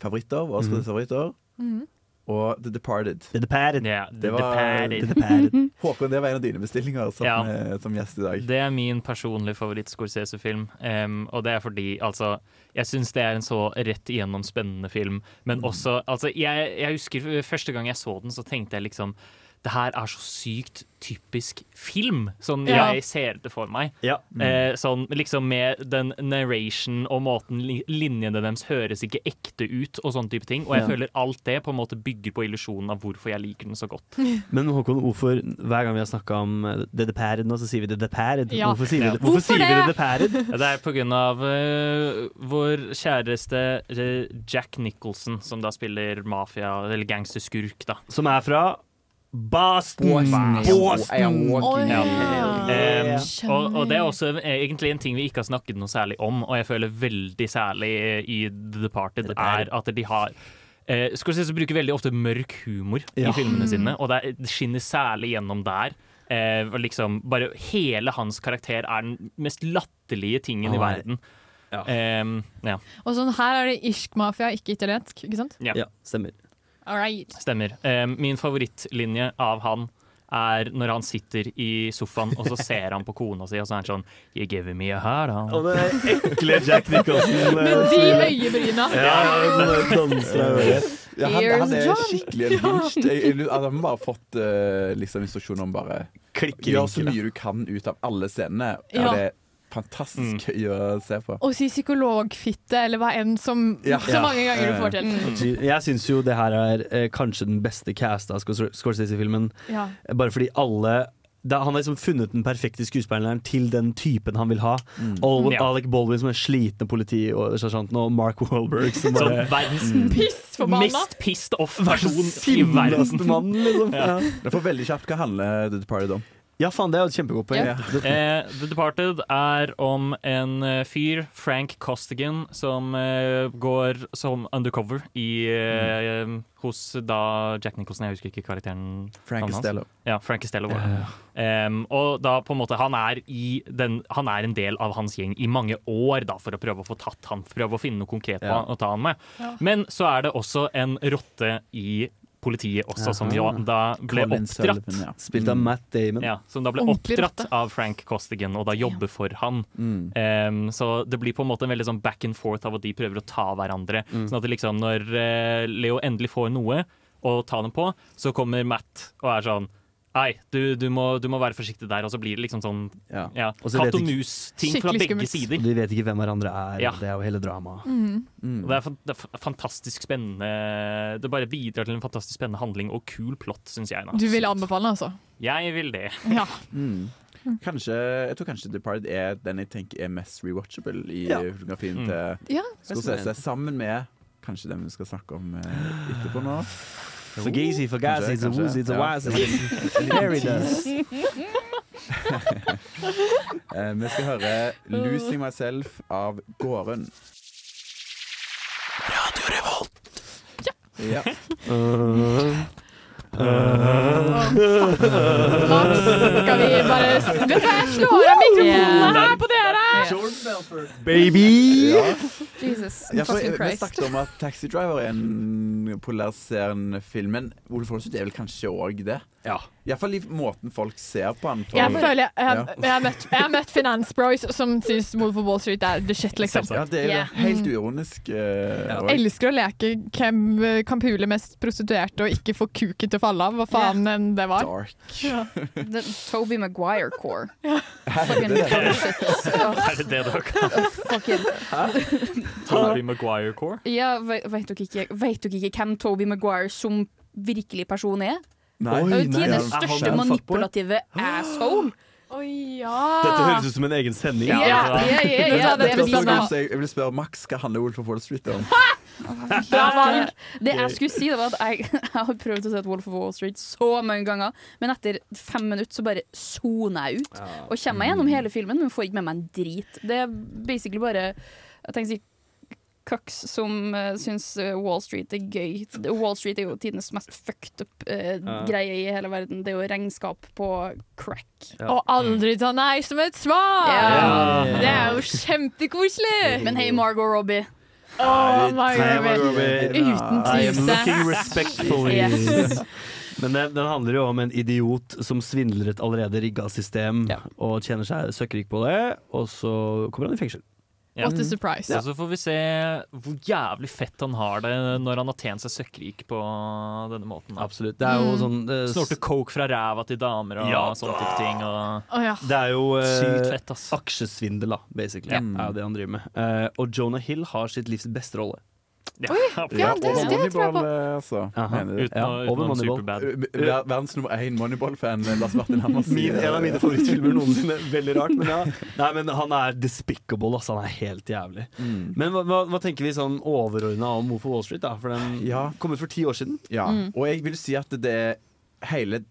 S7: favoritter. Våre
S8: Mhm.
S7: favoritter
S6: Mhm.
S7: Og The Departed.
S8: The Departed.
S10: The
S7: det var,
S10: Departed. The
S7: Håkon, det var en av dine bestillinger som,
S10: Ja.
S7: eh, som gjest i dag.
S10: Det er min personlige favoritt-Scorsese-film. em, og det er fordi, altså Jeg syns det er en så rett igjennom spennende film. Men
S2: Mm.
S10: også Altså, jeg, jeg husker første gang jeg så den, så tenkte jeg liksom det her er så sykt typisk film, sånn
S2: Ja.
S10: jeg ser det for meg.
S2: Mm.
S10: Eh, sånn liksom med den narration og måten li- linjene deres høres ikke ekte ut, og sånne type ting. Og jeg
S8: Ja.
S10: føler alt det på en måte bygger på illusjonen av hvorfor jeg liker den så godt.
S8: Men Håkon, hvorfor hver gang vi har snakka om eh, The Departed nå, så sier vi The Departed?
S10: Ja.
S8: Hvorfor sier vi
S10: Ja.
S8: det? Hvorfor sier
S10: Hvorfor
S8: vi
S10: det?
S8: The Departed?
S10: Ja, Det er på grunn av eh, vår kjæreste eh, Jack Nicholson, som da spiller mafia, eller gangsterskurk, da.
S8: Som er fra Boston!
S10: Boston.
S8: Boston.
S10: Ja.
S8: Yeah.
S10: Um, og, og det er også egentlig en ting vi ikke har snakket noe særlig om, og jeg føler veldig særlig eh, i The Departed, er at de har eh, Scorsese bruker veldig ofte mørk humor
S2: Ja.
S10: i filmene
S2: Mm.
S10: sine, og det, er, det skinner særlig gjennom der. Eh, og liksom bare Hele hans karakter er den mest latterlige tingen i
S8: Han er-
S10: verden. Um, ja.
S6: Og sånn her er det irsk mafia, ikke italiensk. Ikke sant?
S10: ja.
S8: Stemmer.
S6: All right.
S10: Stemmer. Eh, min favorittlinje av han er når han sitter i sofaen og så ser han på kona si, og så er han sånn You give me a hard on.
S8: Og det er ekle Jack Nicholson. eh,
S6: Med de
S8: smilet.
S6: øyebryna.
S8: Ja, sånn danser jeg bare.
S7: Ja, han, han er
S6: Here's John.
S7: skikkelig en hinged. Jeg- jeg- Han har bare fått eh, liksom instruksjon om bare Gjør så
S8: vinkel,
S7: mye du kan ut av alle scenene.
S6: Ja.
S7: Og det er fantastisk gøy å se på.
S6: Og si psykologfitte, eller hva enn som så mange ganger du får til.
S8: Mm. Jeg syns jo det her er eh, kanskje den beste casta av Scors- Scorsese-filmen.
S6: Ja.
S8: Bare fordi alle da, han har liksom funnet den perfekte skuespilleren til den typen han vil ha.
S7: Mm.
S8: Al
S2: Ja.
S8: Alec Baldwin som er slitne politisersjanten, og Mark Wahlberg som
S10: Som
S8: bare
S10: Sånn verdens
S6: Pissforbanna.
S10: mest pissed off-versjon i
S8: Sinneste
S10: verden.
S8: mannen, liksom.
S10: Ja.
S7: Det får veldig kjapt hva handler eh, The Departed om.
S8: Ja, faen, det er jo et kjempegodt poeng.
S10: Eh, The Departed er om en eh, fyr, Frank Costigan, som eh, går som undercover i, eh,
S7: Mm.
S10: hos da Jack Nicholson, jeg husker ikke karakteren.
S7: Frank
S10: navnet hans.
S7: Costello.
S10: Ja, Frank Costello. var det.
S7: Ja.
S10: Em, og da på en måte han er, i den, han er en del av hans gjeng i mange år da, for å prøve å få tatt han, prøve å finne noe konkret på
S8: Ja.
S10: han, å ta han med.
S8: Ja.
S10: Men så er det også en rotte i politiet også, som jo
S8: Aha.
S10: da ble
S8: Colin
S10: oppdratt.
S8: Sullivan, ja. Mm. Spilt av Matt Damon.
S10: Ja, som da ble
S8: Ordentlig
S10: oppdratt av Frank Costigan og da jobber for han.
S8: Mm.
S10: Em, så det blir på en måte en veldig sånn back and forth av at de prøver å ta hverandre.
S8: Mm.
S10: Sånn at det liksom når eh, Leo endelig får noe å ta dem på, så kommer Matt og er sånn Nei, du, du, må, du må være forsiktig der. Og så blir det liksom sånn ja.
S8: Og så
S10: katt
S8: vet
S10: og
S8: ikke-
S10: mus-ting fra begge sider.
S8: Og De vet ikke hvem hverandre er,
S10: Ja.
S8: og det er jo hele dramaet.
S10: Mm.
S8: Mm.
S10: Og Det, er, fan- det er fa- fantastisk spennende Det bare bidrar til en fantastisk spennende handling og kul plott, syns jeg. Da.
S6: Du vil anbefale, altså?
S10: Jeg vil det.
S6: Ja.
S7: Mm. Kanskje, jeg tror kanskje Departed er den jeg tenker er mest rewatchable i
S6: Ja.
S7: fotografien
S10: Mm.
S7: til
S6: Ja.
S7: Scorsese, sammen med kanskje den vi skal snakke om eh, etterpå nå.
S8: Fugazi, fugazi, it's a woozy, it's a wazi. Very does.
S7: Eh, Vi skal høre 'Losing Myself' av Gården. Radio Revolt. Ja.
S6: Skal vi bare Vet du hva, jeg slår av mikrofonene her på dere!
S8: Baby!
S6: Jesus
S7: Ja, for,
S6: fucking
S7: eh, vi
S6: Christ.
S7: snakket om at Taxi Driver er en polariserende film, men Wolf Holswood er vel kanskje òg det?
S8: Ja.
S7: Iallfall i måten folk ser på den. på.
S6: Jeg føler jeg, jeg,
S7: Ja.
S6: jeg, har møtt, jeg har møtt Finance Bros som syns Wolf of Wall Street er the shit, liksom.
S7: Ja, det er jo
S6: Yeah.
S7: helt
S6: Mm.
S7: uironisk. eh, og-
S6: Elsker å leke hvem eh, kan pule mest prostituerte og ikke få kuken til å falle av. Hva faen enn det var.
S7: Dark.
S6: Ja.
S9: The Toby Maguire-core.
S7: Er det det?
S9: Oh,
S10: Er det det dere kaller
S9: Fucking
S10: Toby Maguire-core?
S9: Ja, ve- vet dere, ikke, vet dere ikke hvem Toby Maguire som virkelig person er?
S8: Nei.
S9: Det
S8: Oi,
S9: er jo
S8: nei,
S9: tidenes
S8: er han
S9: største
S8: en fuckboy?
S9: manipulative asshole.
S6: Å ja!
S8: Dette høres ut som en egen sending.
S9: Ja, ja, ja, ja, ja,
S7: Dette
S9: det er
S7: spørsmålet
S9: liksom-
S7: også, jeg- Jeg vil spørre Max hva handler Wolf of Wall Street om.
S9: Det, det jeg skulle si, det var at jeg, jeg har prøvd å se et Wolf of Wall Street så mange ganger, men etter fem minutter så bare soner jeg ut. Og kommer meg gjennom hele filmen, men får ikke med meg en drit. Det er basically bare Jeg tenker å si Cucks som uh, syns eh, Wall Street er gøy. Wall Street er jo tidenes mest fucked up eh,
S6: Ja.
S9: greie i hele verden. Det er jo regnskap på crack.
S6: Ja. Og aldri ta nei som et svar!
S9: Ja.
S6: Det er jo kjempekoselig!
S9: Men hei, Margot Robbie.
S6: Oh my
S8: Nei,
S6: god. Uten
S8: I am
S6: tvil.
S8: looking respectfully.
S6: Yes.
S8: Men den, den handler jo om en idiot som svindler et allerede rigga system og tjener seg søkkrik på det, og så kommer han i fengsel.
S10: Ja.
S6: What a surprise.
S10: Og så får vi se hvor jævlig fett han har det når han har tjent seg søkkrik på denne måten.
S8: Absolutt. Det er jo Mm. sånn, eh,
S10: Snorter coke fra ræva til damer og
S8: Ja da.
S10: sånne type ting. Og
S6: Å, ja.
S8: Det er jo eh,
S10: Sykt fett,
S8: aksjesvindel, da, basically.
S10: Ja.
S8: Er jo det han driver med. Eh, og Jonah Hill har sitt livs beste rolle.
S10: Ja. Oi,
S7: Ja, over Moneyball, eh, altså.
S8: Aha.
S7: mener du?
S8: Uten- Ja, over uten Moneyball. Superbad.
S7: Eh, ver- Verdens nummer én Moneyball-fan, eh, Lars Martin Hammersen.
S8: Min, en av mine favorittfilmer noensinne. Veldig rart. Men, ja. Nei, men han er despicable. Altså. Han er helt jævlig.
S7: Mm.
S8: Men hva, hva, hva tenker vi sånn overordna om Move for Wall Street? Da? For den kom ut for ti år siden.
S7: Ja,
S8: Mm.
S7: og jeg vil si at det er hele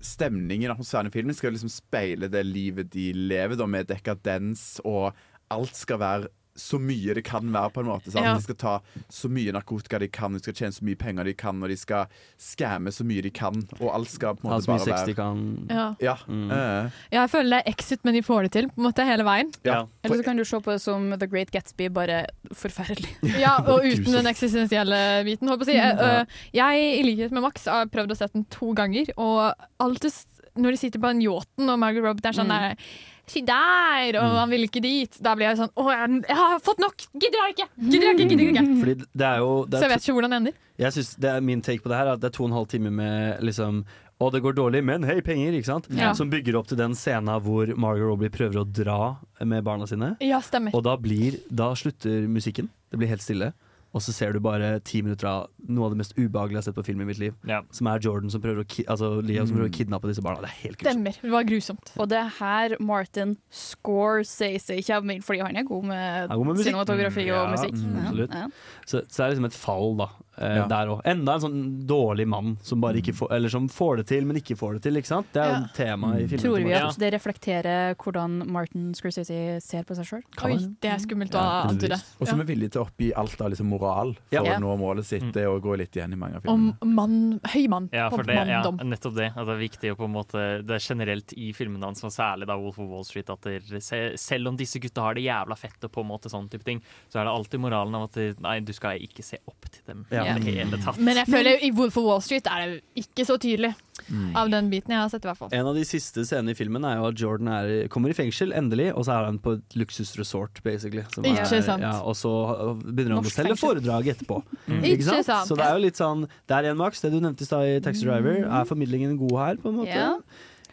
S7: stemningen og atmosfæren i filmen skal liksom speile det livet de lever da, med dekadens, og alt skal være så mye det kan være, på en måte. Sant?
S8: Ja.
S7: De skal ta så mye narkotika de kan, de skal tjene så mye penger de kan, og de skal skamme så mye de kan, og alt skal på en
S8: Ha
S7: måte
S8: så mye
S7: bare
S8: sex
S7: være
S8: de kan. Mm.
S6: Ja.
S7: Ja. eh.
S6: Ja, jeg føler det er exit, men de får det til på en måte hele veien.
S7: Ja.
S9: Eller så kan du se på det som The Great Gatsby, bare forferdelig.
S6: Ja, og uten den eksistensielle biten, holdt på å si. Jeg, øh, jeg, i likhet med Max, har prøvd å sette den to ganger, og alltid s- når de sitter på den yachten, og Margaret Robert er sånn der Si der! Og han vil ikke dit. Da blir jeg sånn Å, jeg, jeg har fått nok! Gidder jeg ikke! Gidder jeg ikke! Gidder jeg ikke!
S8: Fordi det er jo
S6: Så
S8: det er
S6: jeg vet ikke hvordan det ender.
S8: Jeg synes det er Min take på det her er at det er to og en halv time med liksom Å, det går dårlig, men hei, penger! ikke sant?
S6: Ja.
S8: Som bygger opp til den scenen hvor Margot Robbie prøver å dra med barna sine.
S6: Ja, stemmer.
S8: Og da, blir, da slutter musikken. Det blir helt stille. Og så ser du bare ti minutter av noe av det mest ubehagelige jeg har sett på film i mitt liv. Som er Jordan som prøver å, ki altså Leo som prøver å kidnappe disse barna. Det er helt grusomt.
S6: Stemmer. Det var grusomt.
S9: Og det er her Martin Scorsese kommer inn, fordi han er god med,
S8: Han er god med musikk.
S9: cinematografi
S8: Mm, ja,
S9: og musikk.
S8: mm,
S9: Ja,
S8: absolutt.
S9: ja.
S8: Så, så det er liksom et fall, da. eh,
S5: Ja.
S8: der òg. Enda en sånn dårlig mann som, bare ikke får, eller som får det til, men ikke får det til. Ikke sant? Det er jo
S9: Ja.
S8: temaet i filmen.
S9: Tror vi
S8: Ja.
S9: at det reflekterer hvordan Martin Scorsese ser på seg sjøl?
S6: Oi, det er skummelt å antyde.
S7: Og som er villig til å oppgi alt av liksom moral for
S6: Ja.
S7: å nå målet sitt. Det å gå litt igjen i mange av filmene.
S6: Om mann, høy mann.
S10: Ja, for
S6: på
S10: det, ja,
S6: manndom.
S10: nettopp det. At det er viktig å på en måte Det er generelt i filmene hans, og særlig da Wolf of Wall Street, at det, se- selv om disse gutta har det jævla fett og på en måte sånn type ting, så er det alltid moralen av at det, nei, du skal ikke se opp til dem
S6: Ja.
S10: i det hele tatt.
S6: Men jeg føler i Wolf of Wall Street er det ikke så tydelig.
S8: Mm.
S6: Av den biten jeg har sett, i hvert fall.
S8: En av de siste scenene i filmen er jo at Jordan er, kommer i fengsel, endelig, og så er han på et luksusresort, basically. som er-
S6: Ikke sant.
S8: Ja, og så begynner han
S6: Norsk
S8: å selge
S6: fengsel.
S8: foredrag etterpå.
S6: Mm.
S8: Ikke sant?
S6: Ikke sant.
S8: Så det er jo litt sånn Der igjen, Max, det du nevnte i stad i Taxi Driver, er formidlingen god her, på en måte?
S6: Mm. Ja.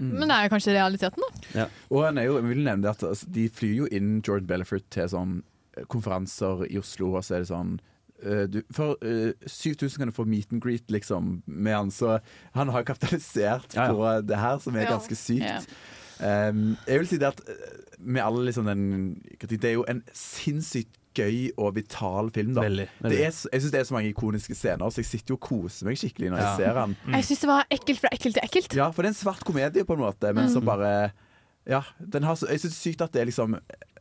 S8: Mm.
S6: Men det er jo kanskje realiteten, da.
S7: Og han er jo, jeg vil nevne det at altså, de flyr jo inn Jordan Belfort til sånn eh, konferanser i Oslo, og så er det sånn eh, du, for eh, 7000 kan du få meet and greet liksom, med han, så han har kapitalisert på det her, som er
S16: Ja.
S7: ganske sykt.
S16: Ja.
S7: Um, jeg vil si det at eh, med alle liksom den Det er jo en sinnssykt gøy og vital film, da.
S8: Veldig, veldig.
S7: Det er, så- jeg syns det er så mange ikoniske scener, så jeg sitter jo og koser meg skikkelig når
S8: Ja.
S7: jeg ser han.
S8: Mm.
S6: Jeg syns det var ekkelt fra ekkelt til ekkelt.
S7: Ja, for det er en svart komedie på en måte, men
S6: Mm.
S7: som bare Ja, den har så, jeg syns det er sykt at det er liksom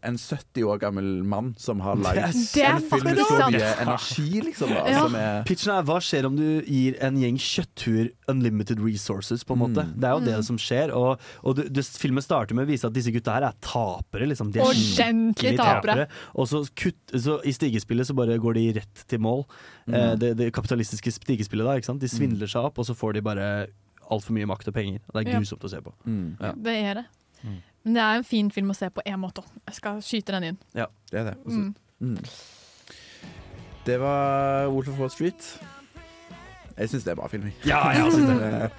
S7: en 70 år gammel mann som har lagd
S8: Det er
S7: en
S8: s- Det er
S7: film med
S8: faktisk
S7: så
S8: sant.
S7: mye energi, liksom. Da,
S8: Ja.
S7: som er,
S8: Pitchen er hva skjer om du gir en gjeng kjøtthuer unlimited resources, på en måte. Det er jo det
S6: Mm.
S8: som skjer. Og, og du, du, filmen starter med å vise at disse gutta her er tapere, liksom. De er
S6: Ordentlig
S8: skikkelig
S6: tapere.
S8: Og så, kutt, så i stigespillet så bare går de rett til mål.
S7: mm,
S8: Eh, det, det kapitalistiske stigespillet, da. Ikke sant? De svindler seg opp, og så får de bare altfor mye makt og penger. Det er
S6: Ja.
S8: grusomt å se på.
S7: mm,
S8: Ja.
S6: Det er det.
S8: Mm.
S6: Men det er en fin film å se på én måte òg. Jeg skal skyte den inn.
S8: Ja.
S7: det er det. Og så-
S6: Mm.
S7: Mm. Det var Wolf of Wall Street. Jeg syns det er bra film. jeg.
S8: Ja, ja, jeg synes det.
S7: Den er-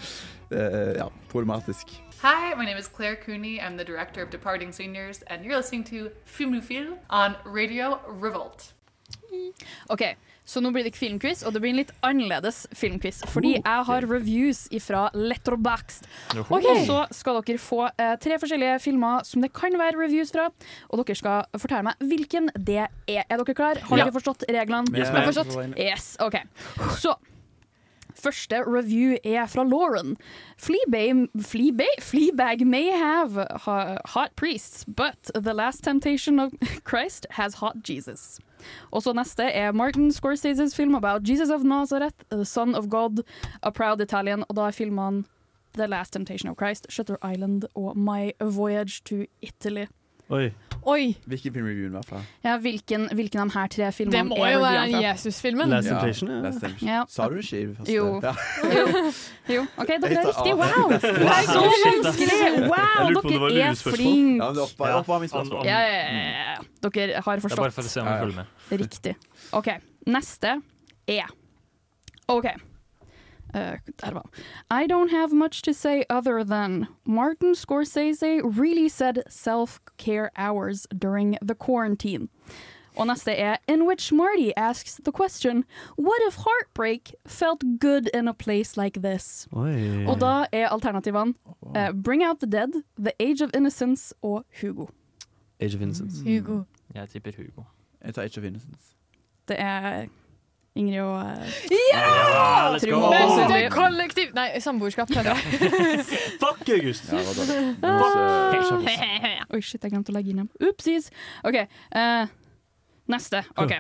S7: det er, eh, ja, problematisk.
S18: Hi, my name is Claire Cooney. I'm the director of Departing Seniors, and you're listening to Filmofil on Radio Revolt.
S9: Ok, så nå blir det ikke filmquiz, og det blir en litt annerledes filmquiz. Fordi jeg har reviews ifra Letterboxd.
S6: Joho.
S9: Og så skal dere få eh, tre forskjellige filmer som det kan være reviews fra. Og dere skal fortelle meg hvilken det er. Er dere klar? Har
S6: Ja.
S9: dere forstått reglene?
S6: Yes,
S9: Har dere
S6: ma'am.
S9: forstått? Yes, ok. Så Første review er fra Lauren. Fleabag, Fleabag, Fleabag may have ha, hot priests, but the last temptation of Christ has hot Jesus. Og så neste er Martin Scorseses film about Jesus of Nazareth, the son of God, a proud Italian. Og da er filmene The Last Temptation of Christ, Shutter Island og My Voyage to Italy.
S8: Oi.
S6: Oi.
S7: Hvilken film reviewen var fra?
S9: Ja, hvilken, hvilken av de her tre filmene
S6: Det må
S9: er
S6: jo være
S9: reviewene fra?
S6: Jesus-filmen.
S7: Last Temptation, ja.
S9: Ja.
S7: Sa du skiv?
S9: Jo.
S7: Ja.
S9: jo. Jo, OK, dere er
S7: Jeg sa A.
S9: riktig. Wow! Det er så vanskelig!
S7: Jeg lurte
S9: Wow,
S7: på om det var
S9: dere er
S7: lurespørsmål. Ja, men det er opp-
S9: flinke.
S7: oppvarmingsspørsmål.
S9: Ja, ja, ja, ja. Dere har
S10: Det er bare for å
S9: forstått.
S10: se om vi følger med.
S9: er Riktig. OK, neste er OK. Uh, der var I don't have much to say other than Martin Scorsese really said self-care hours during the quarantine. Og neste er In which Marty asks the question What if heartbreak felt good in a place like this?
S8: Oi.
S9: Og da er alternativene eh, Bring Out the Dead, The Age of Innocence og Hugo.
S8: Age of Innocence.
S6: Hugo.
S10: Jeg tipper Hugo.
S7: Jeg tar Age of Innocence.
S9: Det er Ingrid og eh,
S6: Ja!
S9: Let's go!
S6: Beste kollektiv Nei, samboerskap, heter det.
S8: Fuck August!
S7: Ja, hva da?
S9: Ah! Oi, shit, jeg glemte å legge inn dem. Oopsies. OK. eh, neste. OK.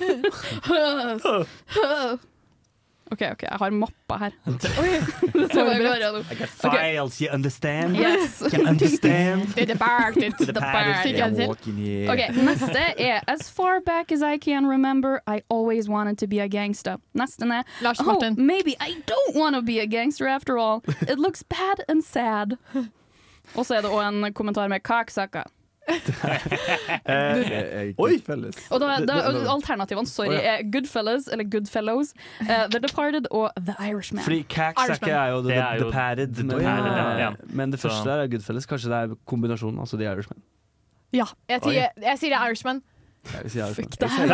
S9: OK, ok, jeg har mappa her. Oi, det var bare noe.
S8: I got
S9: Ok.
S8: files, you understand?
S9: Yes.
S8: You understand?
S9: Did the part, did the part. Fikk jeg det til?
S8: Eh,
S9: OK, neste er As far back as I can remember, I always wanted to be a gangster. Nesten er
S6: Lars
S9: Oh,
S6: Martin.
S9: maybe I don't want to be a gangster after all. It looks bad and sad. Og så er det også en kommentar med kaksaka.
S8: eh,
S7: Oi! Felles.
S9: Og da, da, alternativene, sorry,
S8: Å, ja.
S9: er Goodfellas, eller Goodfellows, eh, The Departed og The Irishman.
S8: Fordi Cax er ikke er jo The,
S10: Det er
S8: the,
S10: jo
S8: Padded,
S10: The
S8: men,
S10: Padded, ja, ja.
S8: men det
S10: Så-
S8: første der er Goodfellas. Kanskje det er kombinasjonen, altså The Irishman.
S6: Ja. Jeg
S8: Oi.
S6: sier, jeg sier det er Irishman.
S8: Jeg vil si Irishman.
S9: det
S8: Jeg sier
S10: Ja,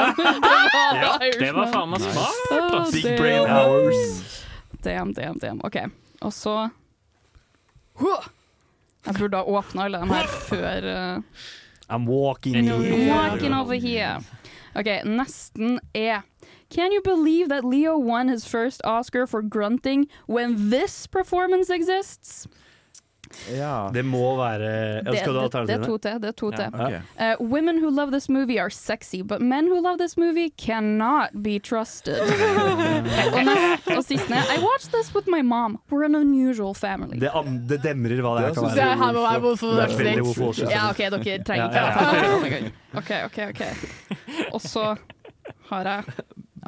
S10: det var faen meg
S8: Nice.
S10: smart!
S9: Ah,
S10: ass.
S8: Big brain hours.
S9: Damn, damn, damn. OK. Og så Huh! Jeg burde ha åpna alle dem her før eh,
S8: I'm walking
S9: Walking over here. OK, nesten er Can you believe that Leo won his first Oscar for grunting when this performance exists?
S8: Det må være ja,
S9: Det,
S8: Skal du ha
S9: det, det er
S8: alternativene?
S9: to til. Det er to til.
S8: Ja, ok.
S9: Uh, women who love this movie are sexy, but men who love this movie cannot be trusted. og, nest, og siste ned, I watched this with my mom. We're an unusual family.
S8: Det, am- det demrer hva det her kan
S6: Det
S8: være.
S6: her må være Wolf of Wall
S8: Det er veldig
S6: Street.
S8: Wolf of Wall Street.
S9: Ja, OK, dere trenger
S8: Ja,
S9: ikke
S8: ja,
S9: det.
S8: ja.
S9: Oh my God. OK, OK. ok. Og så har jeg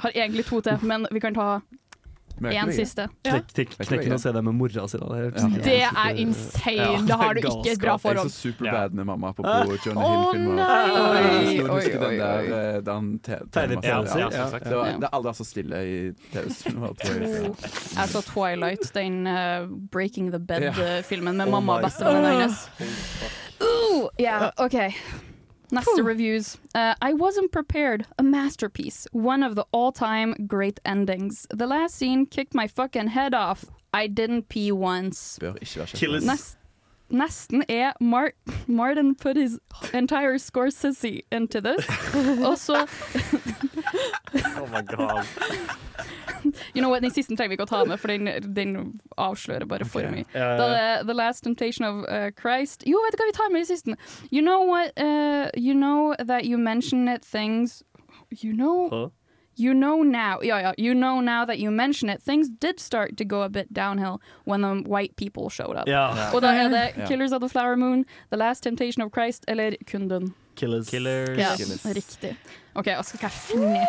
S9: har egentlig to til, men vi kan ta én siste.
S8: Knekk, knekk, knekken og se deg med mora si, da. Det er, helt-
S6: Det er insane. Da har du ikke et bra forhold.
S7: Jeg så Superbad med mamma på
S8: Ah.
S7: Johnny
S6: Å,
S7: Hill-filmer.
S6: nei!
S7: Jeg
S6: Oi,
S7: husker
S6: oi,
S7: den der,
S6: oi.
S7: eh, den te-
S8: Tegneserien,
S7: temaserien.
S8: ja,
S7: Ja.
S8: selvsagt.
S7: Det var-
S9: Ja.
S7: det er aldri så stille i TV-serien.
S9: Jeg så Twilight, den eh, Breaking the
S7: Ja.
S9: Bed-filmen med
S7: Oh
S9: mamma og
S7: my
S9: bestevennen
S7: God.
S9: hennes. Ooh, yeah, okay. Neste reviews. Uh, I wasn't prepared. A masterpiece. One of the all-time great endings. The last scene kicked my fucking head off. I didn't pee once.
S7: Bør ikke være kjent.
S8: Killers.
S9: Nes- nesten er Mar Martin put his entire Scorsese into this. Også
S10: Oh my god.
S9: You know what, Den siste trenger vi ikke å ta med, for den, den avslører bare for mye.
S10: Ja, ja,
S9: Da det- The Last Temptation of uh, Christ Jo, vet du hva, vi tar med den siste. You know what uh, You know that you mention it things You know You know now, yeah, yeah. You know now that you mention it, things did start to go a bit downhill when the white people showed up.
S8: Ja. Ja.
S9: Og da er det
S8: Ja.
S9: Killers of the Flower Moon, The Last Temptation of Christ eller Kunden.
S8: Killers.
S9: Ja,
S8: Killers.
S9: riktig. OK, og så skal jeg finne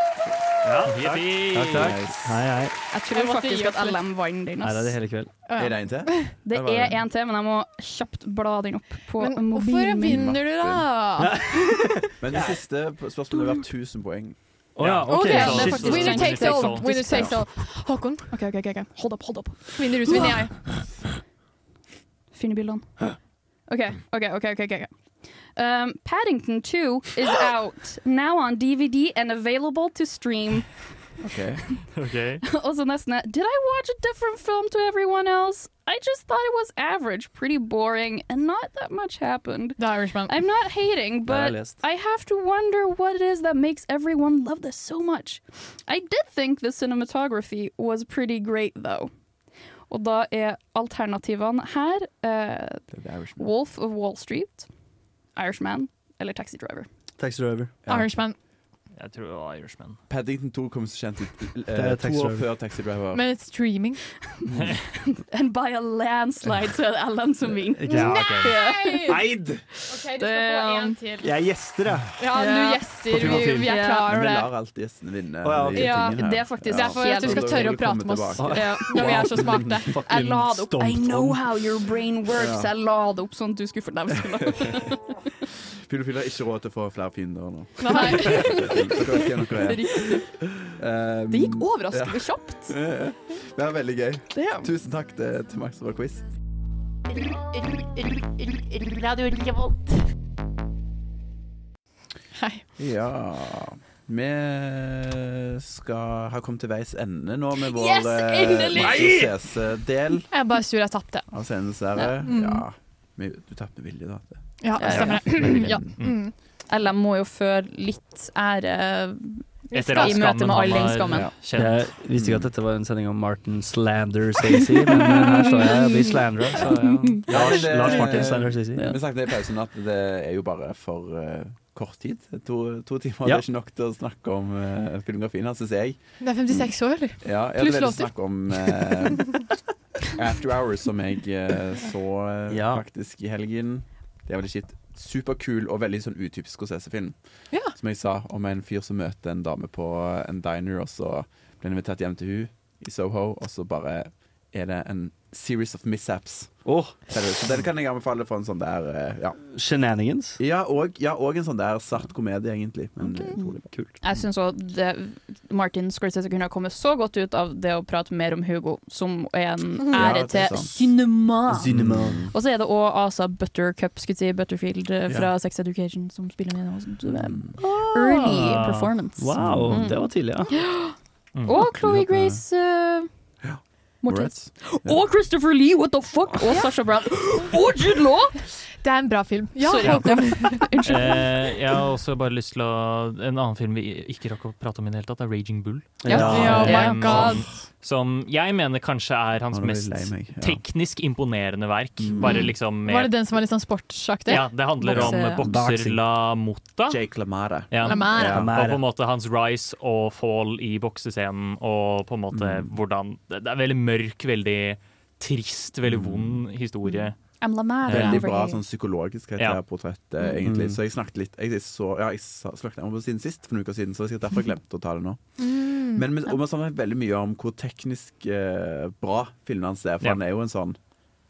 S8: Ja, takk.
S10: Yippee.
S8: takk, takk. Hei, hei.
S9: Jeg
S6: Jeg
S9: tror
S6: måtte gi
S9: faktisk
S6: oss
S9: at
S6: litt.
S9: LM vant den.
S8: Her
S9: ass.
S8: er det hele kveld.
S6: Ja. Er
S7: det en til?
S9: Det
S7: Eller var det
S9: er en til, men jeg må kjapt bla den opp på
S6: Men hvorfor
S9: mobilen min.
S6: vinner du, da?
S7: Men det siste spørsmålet var 1000 poeng.
S8: Å ja,
S6: OK,
S8: ok.
S6: det er
S8: Shit.
S6: faktisk winner takes all. Winner takes all. Håkon, OK, OK, ok, ok. hold opp, hold opp. Vinner du, så vinner jeg.
S9: Finne bildene. OK, OK. ok, ok, ok. Um, Paddington 2 is out now on DVD and available to stream.
S7: Okay.
S9: Og så nesten er, Did I watch a different film to everyone else? I just thought it was average, pretty boring, and not that much happened.
S6: The Irishman.
S9: I'm not hating,
S8: har jeg
S9: but
S8: lest.
S9: I have to wonder what it is that makes everyone love this so much. I did think the cinematography was pretty great, though. Og da er alternativene her eh, Wolf of Wall Street, Irishman eller Taxi Driver.
S8: Taxi driver.
S6: Irishman.
S10: Jeg tror det var Irishman.
S7: Paddington 2 kom så kjent ut
S8: er
S7: eh, to
S8: Taxi
S7: år
S8: Driver.
S7: før Taxi Driver.
S6: Men streaming
S9: And by a landslide så er det Ellen som vinner.
S8: Ja, ok. Eid!
S6: OK,
S9: du skal få en
S6: til.
S8: Jeg gjester, jeg.
S6: Ja, du gjester. Vi, vi er klar
S7: Vi
S6: over det.
S7: lar alltid gjestene vinne.
S8: Å, ja,
S7: i
S8: ok.
S6: Ja,
S7: tingen her.
S9: det er faktisk
S6: Det er for at du skal tørre å prate med oss.
S7: Tilbake.
S6: Ja, når vi er så smarte.
S9: Jeg la det opp. I
S8: Stunt
S9: know
S8: on.
S9: how your brain works. Jeg la det opp sånn at du skulle få dem
S7: Filofil har ikke råd til å få flere fiender nå.
S9: Nei.
S7: Dere vet hvem dere er.
S9: Riktig.
S7: Um,
S9: Det gikk overraskende kjapt.
S7: ja. Ja, ja. Ehm, Det var veldig gøy.
S9: Damn.
S7: Tusen takk til, til Max for quiz.
S11: Radio Revolt.
S6: Hei.
S7: Ja Vi skal ha kommet til veis ende nå med vår
S6: Yes,
S7: eh,
S6: endelig!
S7: Max og CC-del
S6: Jeg er bare sur jeg tapte.
S7: av Sendens ære.
S6: Ja. Mm.
S7: Ja. men Du tapte villig, da.
S6: Ja,
S9: Ja, ja.
S6: stemmer det.
S7: Veldig
S9: Ja.
S7: gøy.
S6: Mm.
S9: Eller må jo føre litt ære
S10: Etter
S9: i møte med all den
S10: han
S9: skammen.
S10: har
S8: Jeg
S10: kjent.
S8: visste ikke at dette var en sending om Martin Slander Stacey, men eh, her står jeg og blir slandra. så, ja. Lars,
S7: det-
S8: Lars Martin Slander Stacey.
S7: Vi snakket i pausen at det er jo bare for eh, kort tid. To, to timer
S8: Ja.
S7: det er ikke nok til å snakke om eh, filmografien hans, syns jeg.
S6: Det er 56 år, eller?
S7: Ja, jeg
S6: Pluss
S7: hadde veldig
S6: låter.
S7: snakk om eh, After Hours, som jeg eh, så eh,
S8: Ja.
S7: faktisk i helgen. Det er veldig shit. Superkul og veldig sånn utypisk Scorsese-film.
S6: Ja.
S7: Som jeg sa, om en fyr som møter en dame på en diner, og så blir han invitert hjem til hun i Soho, og så bare er det en series of mishaps.
S8: Åh,
S7: Ser du? Så den kan jeg anbefale for en sånn der eh, Ja,
S8: Shenanigans.
S7: ja og, ja, og en sånn der svart komedie, egentlig. Men eh, utrolig bra.
S8: Kult.
S9: Jeg syns òg Martin Scorsese kunne ha kommet så godt ut av det å prate mer om Hugo, som er en
S7: Ja, det er sånn
S9: ære til
S7: sant.
S9: cinema.
S8: Cinema.
S9: Og så er det òg Asa Buttercup, skulle jeg si, Butterfield eh, fra Sex Education, som spiller med
S7: Mm.
S9: nå.
S6: Ah,
S9: Early performance.
S8: Wow,
S9: Mm.
S8: det var tidlig, ja.
S9: Og Chloé Grace eh, Moretz. Og Christopher Lee, what the fuck? Og Sasha Brown. Og Jude Law!
S6: Det er en bra film. Ja,
S10: Sorry.
S6: Håkon.
S10: Eh, jeg har også bare lyst til å En annen film vi ikke rakk å prate om i det hele tatt, er Raging Bull.
S6: Ja. Ja, oh my God.
S10: Som, som jeg mener kanskje er hans
S7: Nå ble jeg
S10: mest
S7: lei meg, ja.
S10: teknisk imponerende verk. Bare liksom
S6: Var det
S10: med
S6: den som var litt sånn sportsaktig?
S10: ja, Det handler om bokser
S7: Boxing.
S10: La Motta.
S7: Jake LaMara.
S10: Ja.
S6: Lamara.
S10: Ja.
S7: Lamara.
S10: Og på en måte hans rise og fall i boksescenen, og på en måte hvordan Det er veldig mørk, veldig trist, veldig vond historie.
S9: I'm Lamara.
S7: Veldig
S9: over
S7: bra
S9: here.
S7: sånn psykologisk
S10: Ja.
S7: karakterportrett, eh, egentlig.
S8: Mm.
S7: Så jeg snakket litt Jeg, så, ja, jeg sa- snakket om det siden sist, for noen uker siden, så jeg har derfor glemt å ta det nå.
S8: Mm.
S7: Men vi- og vi snakket veldig mye om hvor teknisk eh, bra filmen hans er, for
S8: Ja.
S7: han er jo en sånn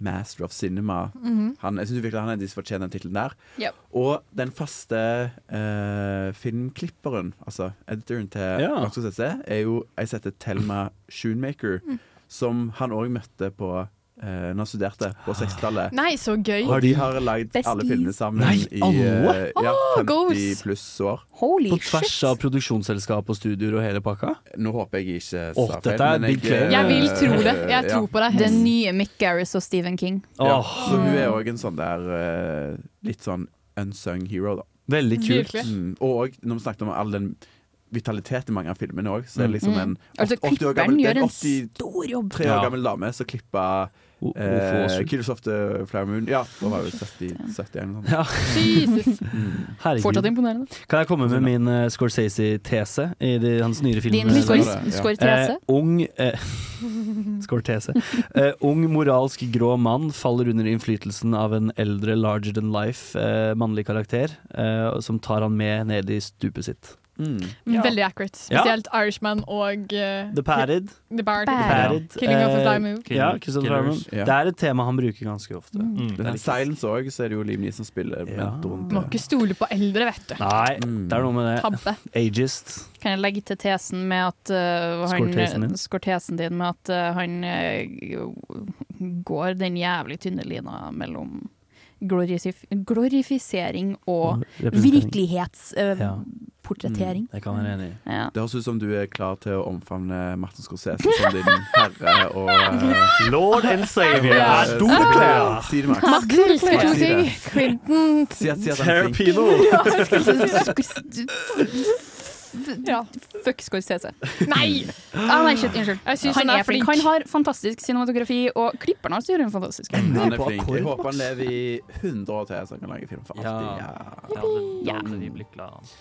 S7: master of cinema.
S8: Mhm.
S7: han, jeg syns virkelig han er de som fortjener den tittelen der.
S8: Yep.
S7: Og den faste eh, filmklipperen, altså editoren til
S8: Ja.
S7: Laksos SC, er jo ei som heter Thelma Shoonmaker,
S8: Mm.
S7: som han òg møtte på eh, når han studerte
S8: Ah.
S7: på 60-tallet.
S6: Nei, så gøy.
S7: Og de har lagd
S6: Besties.
S7: alle filmene sammen
S8: Nei,
S7: i
S8: alle?
S7: eh, ja,
S6: Åh,
S7: 50
S6: goals.
S7: pluss år.
S9: Holy
S8: På tvers av produksjonsselskap og studioer og hele pakka?
S7: Nå håper jeg ikke
S8: Åh,
S7: sa
S8: dette er
S7: feil, men eh,
S8: big claim.
S6: Jeg vil tro det. Jeg
S7: Ja.
S6: tror på deg.
S9: Den nye Mick Garris og Stephen King.
S7: Ja,
S8: Åh.
S7: så hun er òg en sånn der eh, litt sånn unsung hero, da.
S8: Veldig kult.
S6: Virkelig.
S7: Mm. Og også, når vi snakket om all den vitaliteten i mange av filmene òg, så er det liksom
S9: Mm.
S7: en
S9: Altså,
S7: 80 år
S9: klipperen
S7: gammel, det er
S9: gjør en
S7: en 83
S9: stor jobb.
S7: år
S9: Ja.
S7: gammel dame som klippa
S8: O-
S7: eh,
S8: Ofo Åsund.
S7: Killers of the Flower Moon. Ja, da var hun 70, 71 eller noe Mm. sånt.
S8: Ja.
S6: Jesus.
S8: Herregud.
S9: Fortsatt imponerende.
S8: Kan jeg komme med min eh, Scorsese-tese i de, hans nyere filmer?
S9: Din skor-
S8: Ja.
S9: skortese?
S8: Eh, ung eh, Skortese. Eh, ung, moralsk grå mann faller under innflytelsen av en eldre larger than life eh, mannlig karakter, eh, som tar han med ned i stupet sitt.
S7: Mm.
S6: Veldig accurate.
S8: Ja.
S6: Spesielt Irishman og eh,
S8: The Parrot.
S6: The Parrot.
S8: The Parrot.
S6: Killing of a
S8: eh,
S6: Fly Move.
S8: Ja, Kills of a Fly Moon.
S7: Killers. Ja.
S8: Det er et tema han bruker ganske ofte.
S6: Mm.
S10: Mm.
S7: Den her Silence òg, så er det jo Liv Neeson som spiller mentoren
S6: Må ikke stole på eldre, vet du.
S8: Nei, det er noe med det.
S6: Tabbe.
S8: Ageist.
S9: Kan jeg legge til tesen med at eh, han,
S8: Skortesen din.
S9: Skortesen din med at eh, han eh, går den jævlig tynne lina mellom glorifis glorifisering og eh,
S7: representering. Ja. Mm.
S9: virkelighetsportrettering.
S8: Det kan jeg være enig i.
S9: Ja.
S7: Det høres ut som du er klar til å omfavne Martin Scorsese som din herre og eh,
S8: Lord and savior.
S7: Ja.
S8: Er du klar?
S7: Si det, Max.
S6: Max
S7: Max,
S6: elsker to
S7: si det.
S6: ting. Clinton
S7: Si at, si at han er flink.
S8: Terpino!
S6: Ja.
S9: Ja. Fuck Scorsese.
S6: Nei!
S9: Ah, nei, shit, unnskyld.
S6: Jeg synes han
S9: han,
S6: er
S9: er flink.
S6: flink.
S9: Han har fantastisk cinematografi, og klipperen hans gjør en fantastisk jobb.
S7: Han er
S8: på
S7: flink. Jeg
S8: akkord,
S7: håper
S8: Max.
S7: han lever i 100 år til, så han kan lage film for alltid. Ja.
S10: Ja, det-
S9: Ja.
S10: det blir glad.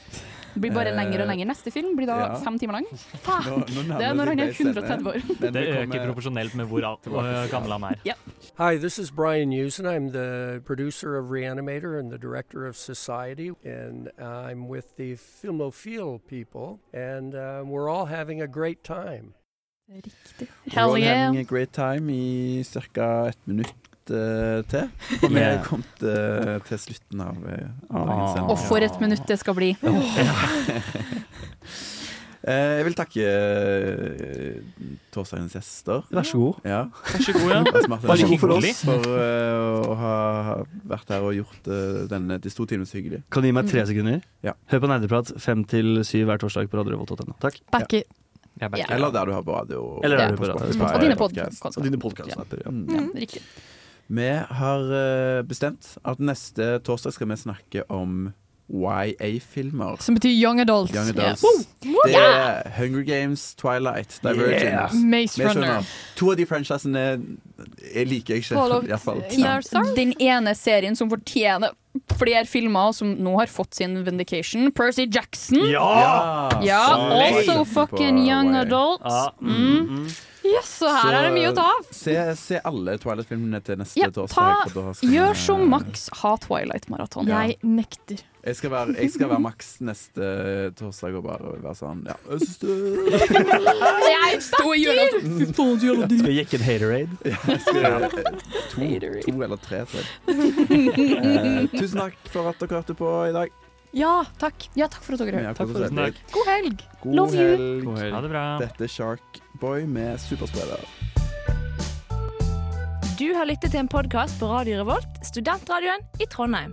S9: Det blir bare
S7: Eh,
S9: lenger og lenger. Neste film blir da
S7: ja.
S9: fem timer lang.
S7: Nå- nå nærmer eh.
S9: Det er
S7: seg
S9: når han er
S7: Blade
S9: 130 år.
S7: Den
S10: Det
S7: vil komme-
S10: øker proporsjonelt med hvor alt- hvor gammel han er.
S16: Hi, this is Brian Usen. I'm the producer of Reanimator and the director of Society, and I'm with the Filmophile people, and uh, we're all having a great time.
S9: Hell
S7: We're all
S9: yeah.
S7: having a great time i ca. et minutt eh, til. Og vi
S8: Yeah.
S7: er kommet eh, til slutten av eh, av dagens sending.
S9: Og for et minutt det skal bli.
S7: Eh, Jeg vil takke eh, torsdagens gjester.
S8: Vær så god.
S7: Ja.
S10: Vær så god, ja.
S7: Lars Martin
S8: Vær så god for
S7: Hyggelig.
S8: oss.
S7: For eh, å ha vært her og gjort eh, denne de to timene så hyggelig.
S8: Kan du gi meg tre sekunder?
S7: Ja.
S8: Hør på Nerdeprat fem til syv hver torsdag på radiorevolt.no. Takk.
S6: Back it.
S10: Jeg
S9: Ja.
S7: Eller der du har på radio.
S8: Eller der
S7: Ja.
S8: du har på radio.
S7: Spotify,
S9: Og dine
S7: podcast.
S9: podkast.
S8: Og dine podkast-apper. Ja.
S9: Ja, Mm. riktig.
S7: Vi har eh, bestemt at neste torsdag skal vi snakke om YA-filmer.
S6: Som betyr Young Adults.
S7: Young Adults.
S6: Yeah. Woo!
S7: Det er Hunger Games, Twilight, Divergent.
S8: Yeah.
S6: Maze
S7: Vi skjønner.
S6: Runner.
S7: To av de franchisene jeg liker jeg ikke.
S6: Follow-
S7: i hvert fall.
S6: Yeah. Sorry.
S9: Den ene serien som fortjener flere filmer, som nå har fått sin vindication, Percy Jackson.
S7: Altså,
S9: Ja, also fucking young adults. Mm.
S6: Yes, så her er det mye å ta av.
S7: Se, se alle Twilight-filmene til neste
S9: Ja, ta,
S7: torsdag. for da skal vi-
S9: gjør som Max, ha Twilight-maraton.
S6: Jeg nekter.
S7: Jeg skal være, jeg skal være Max neste eh, torsdag og bare være sånn ja. Jeg synes det-
S6: Jeg
S9: Stå i hjørnet og Fy faen, så jævla dyrt.
S8: Skal jekke en haterade.
S7: Jeg skal gjøre to, to eller tre til. Eh, tusen takk for at dere hørte på i dag.
S6: Ja, takk.
S9: Ja, takk for at dere
S7: Vi har
S9: hørte.
S7: koset oss
S10: Tusen takk.
S7: veldig.
S6: God helg.
S7: God
S9: Love you.
S7: helg.
S10: Ha det bra.
S7: Dette er Shark Boy med Superspreader.
S13: Du har lyttet til en podkast på Radio Revolt, studentradioen i Trondheim.